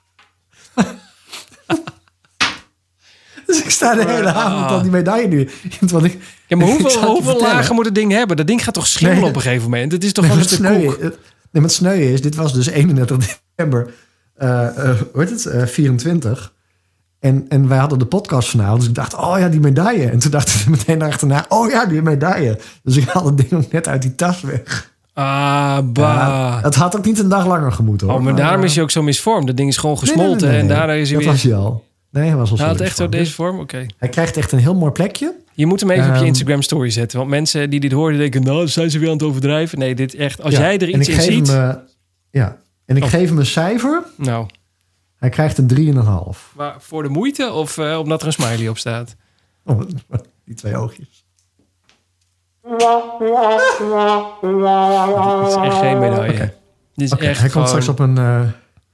Dus ik sta de hele avond aan die medaille nu. Want ik, Ah. Ja, maar ik hoeveel, zal het je hoeveel vertellen. lagen moet het ding hebben? Dat ding gaat toch schimmelen Nee. op een gegeven moment? Het is toch Nee, maar gewoon het een stuk sneu, koek? nee, maar het sneu is, dit was dus 31 december, eh, eh, hoe heet het, Eh, 24. En, en wij hadden de podcast vanavond, dus ik dacht, oh ja, die medaille. En toen dacht ik er meteen achterna, oh ja, die medaille. Dus ik haalde het ding ook net uit die tas weg. Ah, Ja, bah. het had ook niet een dag langer gemoeten hoor. Oh, maar daarom is hij ook zo misvormd. Dat ding is gewoon Nee, nee, nee, gesmolten nee, nee. en daardoor is hij Dat weer... was hij al. Nee, hij was al Hij zo had echt zo lief, deze hoor. vorm? Oké. Hij krijgt echt een heel mooi plekje. Je moet hem even op je Ehm. Instagram story zetten. Want mensen die dit hoorden denken... nou, zijn ze weer aan het overdrijven? Nee, dit echt... Als Ja, jij er en iets ik in geef ziet... Hem, eh, ja, en ik Oh. geef hem een cijfer. Nou, Hij krijgt een 3,5. maar voor de moeite of eh, omdat er een smiley op staat? Oh, die twee oogjes. Dit is echt geen medaille. Dit is Oké, echt hij komt gewoon straks op een... eh,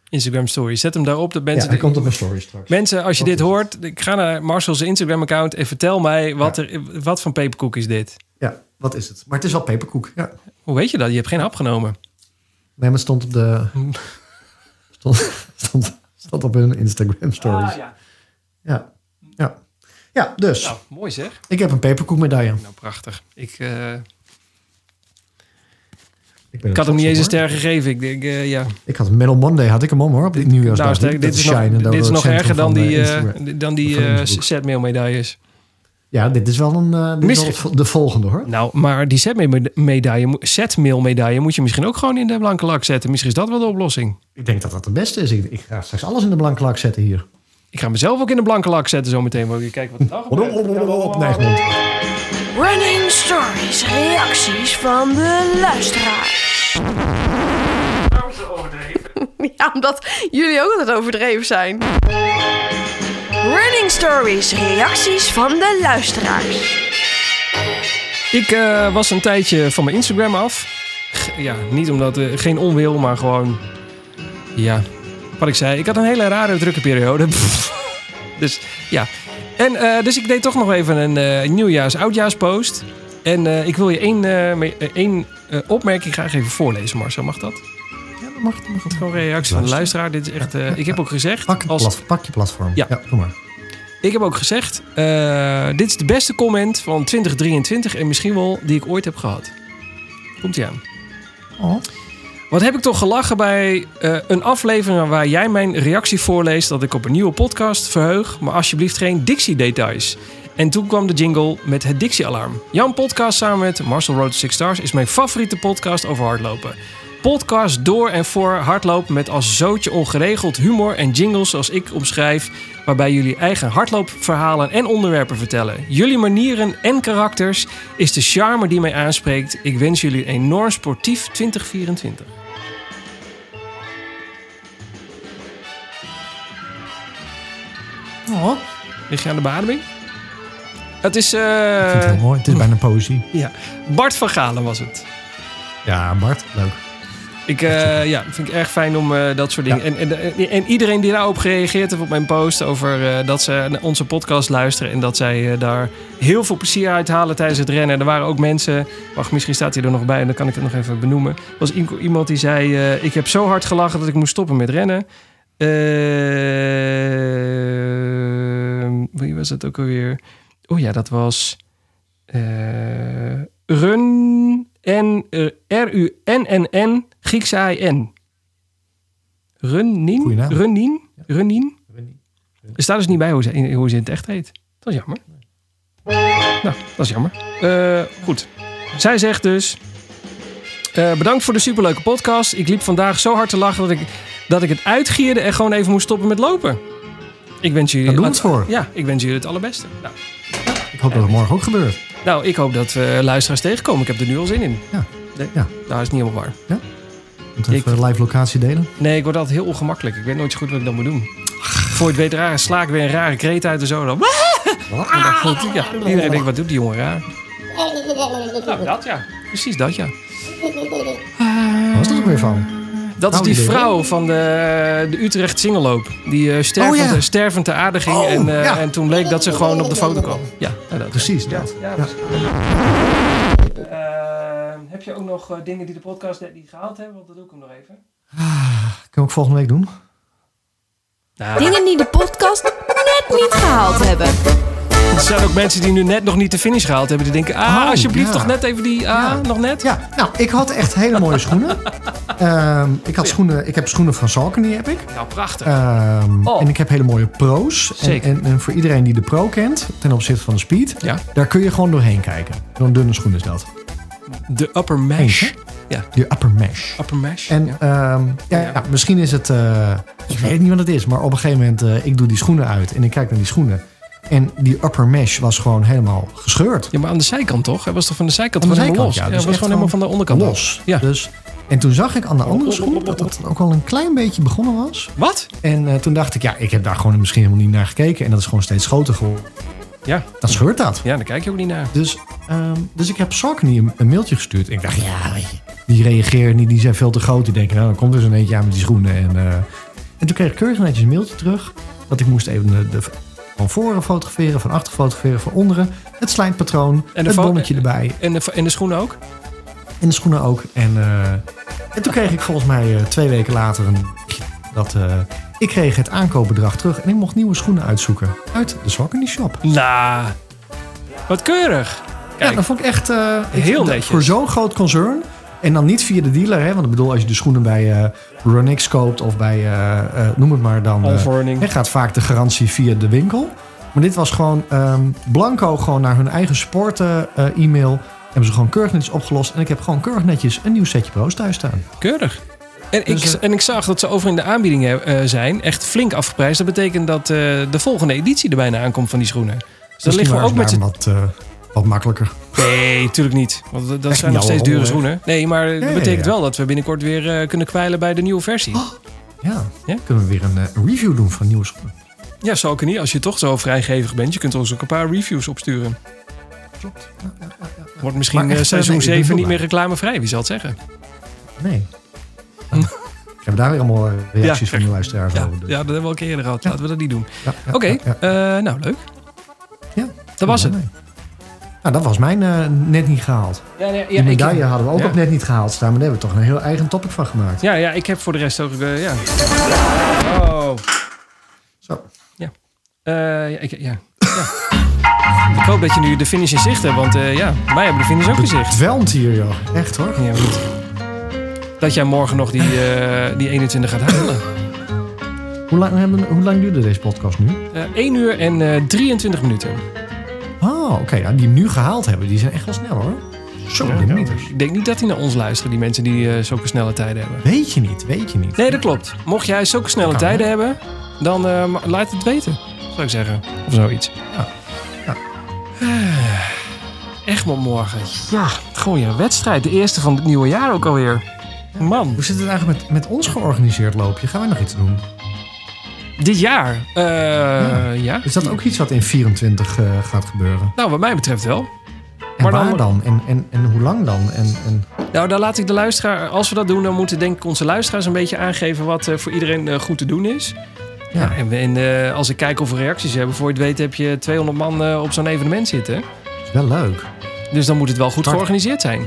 Instagram story. Zet hem daarop. Dat ja, mensen hij komt op mijn story straks. Mensen, als je Wat dit is hoort, ik ga naar Marcel's Instagram-account en vertel mij wat, er, wat voor peperkoek is dit. Ja, wat is het? Maar het is wel peperkoek. Ja. Hoe weet je dat? Je hebt geen hap genomen. Nee, maar het stond op de... Stond, stond, stond op hun Instagram stories. ja. ja. Ja. dus Nou, mooi zeg. ik heb een peperkoekmedaille. Nou, prachtig. Ik, eh, Ik, ben ik had hem niet eens een trots op, ster gegeven. Ik denk, eh, ja. hoor. Ik had Metal Monday, had ik hem om hoor, op dit nieuwjaarsdag. Nou, sterk, Dat dit is nog, Shine en dat dit is wordt nog het erger centrum dan van, die, eh, eh, Instagram. dan die van eh, Instagram. setmail-medailles. ja, dit is wel een... eh, dit is wel Misschien- het- de volgende hoor. Nou, maar die setmail-medaille mo- setmail-medaille moet je misschien ook gewoon in de blanke lak zetten. Misschien is dat wel de oplossing. Ik denk dat dat de beste is. Ik, ik ga straks alles in de blanke lak zetten hier. Ik ga mezelf ook in de blanke lak zetten zometeen. Want je kijkt wat er dan Op, gebeurt. Nijmegen. Running Stories. Reacties van de luisteraar. Ja, omdat jullie ook altijd overdreven zijn. Running Stories. Reacties van de luisteraars. Ik eh, was een tijdje van mijn Instagram af. G- Ja, niet omdat eh, geen onwil, maar gewoon. Ja, wat ik zei. Ik had een hele rare drukke periode. dus ja. En, eh, dus ik deed toch nog even een eh, nieuwjaars-oudjaarspost. En eh, ik wil je één, eh, me- eh, één eh, opmerking graag even voorlezen, Marcel. Mag dat? Ja, dat mag, dat mag. Gewoon reactie van de luisteraar. Dit is echt. eh, ik heb ook gezegd. Pak je, als- plat- pak je platform. Ja. kom maar. Ik heb ook gezegd, eh, dit is de beste comment van 2023 en misschien wel die ik ooit heb gehad. Komt ie aan. Oh. Wat heb ik toch gelachen bij eh, een aflevering waar jij mijn reactie voorleest dat ik op een nieuwe podcast verheug, maar alsjeblieft geen Dixie-details. En toen kwam de jingle met het Dixie-alarm. Jan Podcast samen met Marcel Road to Six Stars is mijn favoriete podcast over hardlopen. Podcast door en voor hardlopen met als zootje ongeregeld humor en jingles zoals ik omschrijf, waarbij jullie eigen hardloopverhalen en onderwerpen vertellen. Jullie manieren en karakters is de charme die mij aanspreekt. Ik wens jullie een enorm sportief 2024. Oh. Lig je aan de beademing? Het is Ik vind het eh heel mooi. Het is bijna poëzie. ja. Bart van Galen was het. Ja, Bart. Leuk. Ik eh, ja, vind ik erg fijn om eh, dat soort dingen. En, en, en, en iedereen die daarop gereageerd heeft op mijn post over eh, dat ze naar onze podcast luisteren en dat zij eh, daar heel veel plezier uit halen tijdens het rennen. Er waren ook mensen, wacht, misschien staat hij er nog bij en dan kan ik het nog even benoemen. Er was i- iemand die zei: eh, Ik heb zo hard gelachen dat ik moest stoppen met rennen. Eh, wie was dat ook alweer? Oh ja, dat was. eh, Run eh, en R-U-N-N-N Grieks A-I-N. Runnin? Goeie naam. Runnin? Runnin? Runnin. Er staat dus niet bij hoe ze, hoe ze in het echt heet. Dat is jammer. Nou, dat is jammer. Eh, goed. Zij zegt dus... eh, bedankt voor de superleuke podcast. Ik liep vandaag zo hard te lachen dat ik, dat ik het uitgierde en gewoon even moest stoppen met lopen. Ik wens jullie... Daar doen we het voor. Ja, ik wens jullie het allerbeste. Nou, Ik hoop dat het morgen ook gebeurt. nou, ik hoop dat we luisteraars tegenkomen. Ik heb er nu al zin in. Ja. Nee, Ja. Nou, is het niet helemaal waar. Moet even Ik- live locatie delen. Nee, ik word altijd heel ongemakkelijk. Ik weet nooit zo goed wat ik dan moet doen. Voor je het weet raar, sla ik weer een rare kreet uit en zo. Dan... En dan voelt- ja, iedereen denkt, wat doet die jongen raar? Nou, dat ja. Precies dat ja. Waar is dat ook weer van? Dat is Nou, die idee. vrouw van de, de Utrecht Singelloop. Die eh, stervend, Oh, ja. stervend te aarde ging. Oh, en, eh, ja. Oh. en toen bleek dat ze gewoon op de foto kwam. Ja, nou, dat. Precies dat. Ja, Eh, heb je ook nog dingen die de podcast net niet gehaald hebben? Want dat doe ik hem nog even. Kunnen we ook volgende week doen? Nou, Dingen die de podcast net niet gehaald hebben. Er zijn ook mensen die nu net nog niet de finish gehaald hebben. Die denken, ah, Oh, alsjeblieft ja. toch net even die, ah, nog net. Ja, nou, ik had echt hele mooie schoenen. Ehm, ik, Oh had schoenen ik heb schoenen van Salkany, heb ik. Nou, prachtig. Ehm, Oh. En ik heb hele mooie pro's. En, Zeker. en, en voor iedereen die de pro kent, ten opzichte van de speed, Ja. daar kun je gewoon doorheen kijken. Zo'n dunne schoen is dat. De upper mesh. Eens, Je upper mesh. Upper mesh. En ja. ehm, ja, ja, misschien is het... eh, ik weet niet wat het is, maar op een gegeven moment... eh, ik doe die schoenen uit en ik kijk naar die schoenen. En die upper mesh was gewoon helemaal gescheurd. Ja, maar aan de zijkant toch? Hij was toch van de zijkant Aan de gewoon helemaal los? zijkant, Ja, ja. Dus hij was gewoon helemaal echt van de onderkant af. Los. Ja. Dus, en toen zag ik aan de andere schoen dat dat ook al een klein beetje begonnen was. Wat? En eh, toen dacht ik, ja, ik heb daar gewoon misschien helemaal niet naar gekeken. En dat is gewoon steeds groter geworden. Ja. Dan scheurt dat. ja, daar kijk je ook niet naar. Dus, ehm, dus ik heb Saucony een, een mailtje gestuurd. En ik dacht, ja, weet je, die reageren niet, die zijn veel te groot. Die denken, nou, dan komt er zo'n eentje aan met die schoenen. En, eh, en toen kreeg ik keurig netjes een mailtje terug. Dat ik moest even de, de- van voren fotograferen, van achter fotograferen, van onderen. Het slijtpatroon, En en de het fo- bonnetje erbij. En de, en de schoenen ook? En de schoenen ook. En, eh, en toen kreeg ik volgens mij eh, twee weken later een... Dat, eh, ik kreeg het aankoopbedrag terug en ik mocht nieuwe schoenen uitzoeken. Uit de Saucony Shop. Nou, wat keurig. Kijk, Ja, dat vond ik echt... eh, ik- Heel dat- netjes. Voor zo'n groot concern. En dan niet via de dealer. Hè? Want ik bedoel, als je de schoenen bij eh Runix koopt of bij... eh, eh, noem het maar dan... eh, Allverning. hè, gaat vaak de garantie via de winkel. Maar dit was gewoon... ehm, blanco gewoon naar hun eigen sport eh, eh, e-mail... Hebben ze gewoon keurig netjes opgelost. En ik heb gewoon keurig netjes een nieuw setje pro's thuis staan. Keurig. En ik, Dus, eh, en ik zag dat ze over in de aanbiedingen eh, zijn. Echt flink afgeprijsd. Dat betekent dat eh, de volgende editie er bijna aankomt van die schoenen. Dus daar liggen we ook met z'n... wat, eh, wat makkelijker. Nee, tuurlijk niet. Want dat- dat zijn nog niet steeds dure ouwe hoor. schoenen. Nee, maar dat ja, betekent ja. Oh. wel dat we binnenkort weer eh, kunnen kwijlen bij de nieuwe versie. Ja. Ja? Kunnen we weer een eh, review doen van nieuwe schoenen? Ja, zal ik er niet. Als je toch zo vrijgevig bent, je kunt ons ook een paar reviews opsturen. Klopt. Wordt misschien Maar echt, eh, seizoen eh, nee, ik ben 7 niet heel meer reclamevrij, wie zal het zeggen? Nee. Ik heb daar weer allemaal eh, reacties Ja. van de luisteraars Ja, over. Dus. ja dat hebben we al een keer eerder gehad. Laten we dat niet doen. Ja, ja, Oké, ja, ja. eh, nou leuk. Ja. Dat was het. Nee. Nou, dat was mijn eh, net niet gehaald. Ja, nee, Die medaille hadden we ook ja. op net niet gehaald staan. Maar daar hebben we toch een heel eigen topic van gemaakt. Ja, ja, ik heb voor de rest ook... eh, ja. Oh. Zo. Eh, ja, ik, ja. ja. ik hoop dat je nu de finish in zicht hebt, want eh, ja, wij hebben de finish ook in zicht. Dwelmt hier, joh. Echt hoor. Ja, goed. Dat jij morgen nog die, eh, die 21 gaat halen. Hoe lang, hebben, hoe lang duurde deze podcast nu? Eh 1 uur en eh 23 minuten. Oh, oké. ja, die hem nu gehaald hebben, die zijn echt wel snel hoor. Zo, de meters. Ik denk niet dat die naar ons luisteren, die mensen die eh, zulke snelle tijden hebben. Weet je niet, weet je niet. Nee, dat klopt. Mocht jij zulke snelle Kan, tijden hebben, dan eh, ma- laat het weten, zou ik zeggen. Of zoiets. Ja. Ja. Eh, Egmond morgen. Ja, gewoon je wedstrijd. De eerste van het nieuwe jaar ook alweer. Man, Hoe zit het eigenlijk met, met ons georganiseerd loopje? Gaan wij nog iets doen? dit jaar. Eh, ja. Is dat ook iets wat in 24 eh, gaat gebeuren? Nou, wat mij betreft wel. En Maar dan- waar dan? En, en, en hoe lang dan? En, en... Nou, dan laat ik de luisteraar... Als we dat doen, dan moeten denk ik onze luisteraars een beetje aangeven... wat eh, voor iedereen eh, goed te doen is. Ja. Ja. en we- en eh, als ik kijk of we reacties hebben... voor je het weet heb je 200 man eh, op zo'n evenement zitten. is wel leuk. Dus dan moet het wel goed Start. georganiseerd zijn.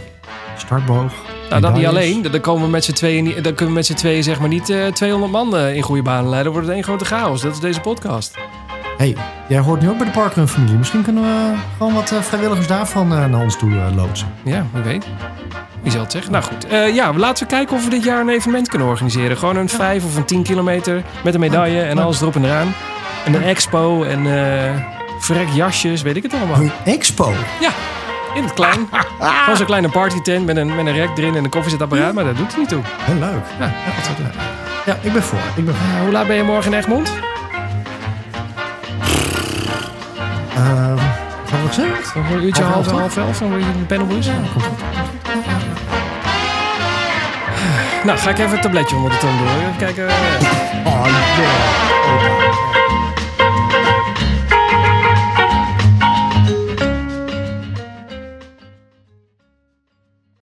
Startboog. Nou, dat niet medailles. alleen. Dan komen we met z'n tweeën, niet- dan kunnen we met z'n tweeën zeg maar niet eh, 200 man eh, in goede banen leiden. Dan wordt het één grote chaos. Dat is deze podcast. hey, jij hoort nu ook bij de Parkrun familie. Misschien kunnen we gewoon wat eh, vrijwilligers daarvan eh, naar ons toe eh, loodsen. Ja, wie weet. Wie zal het zeggen? Nou goed, Eh, ja, laten we kijken of we dit jaar een evenement kunnen organiseren. Gewoon een 5 of een 10 kilometer met een medaille en Ja. alles erop en eraan. En een expo en eh, verrek jasjes, weet ik het allemaal. Een expo. Ja, in het klein. Gewoon zo'n kleine partytent met een, met een rek erin en een koffiezetapparaat, maar dat doet hij niet toe. Heel leuk. Ja, altijd leuk. Ja, ik ben voor. Ik ben voor. Nou, hoe laat ben je morgen in Egmond? Ehm, wat heb ik gezegd? Dan word je uurtje Half half, elf, half, elf, dan word je in de panelbus. Nou, ga ik even het tabletje onder de tong door. Even kijken. Oh, ja.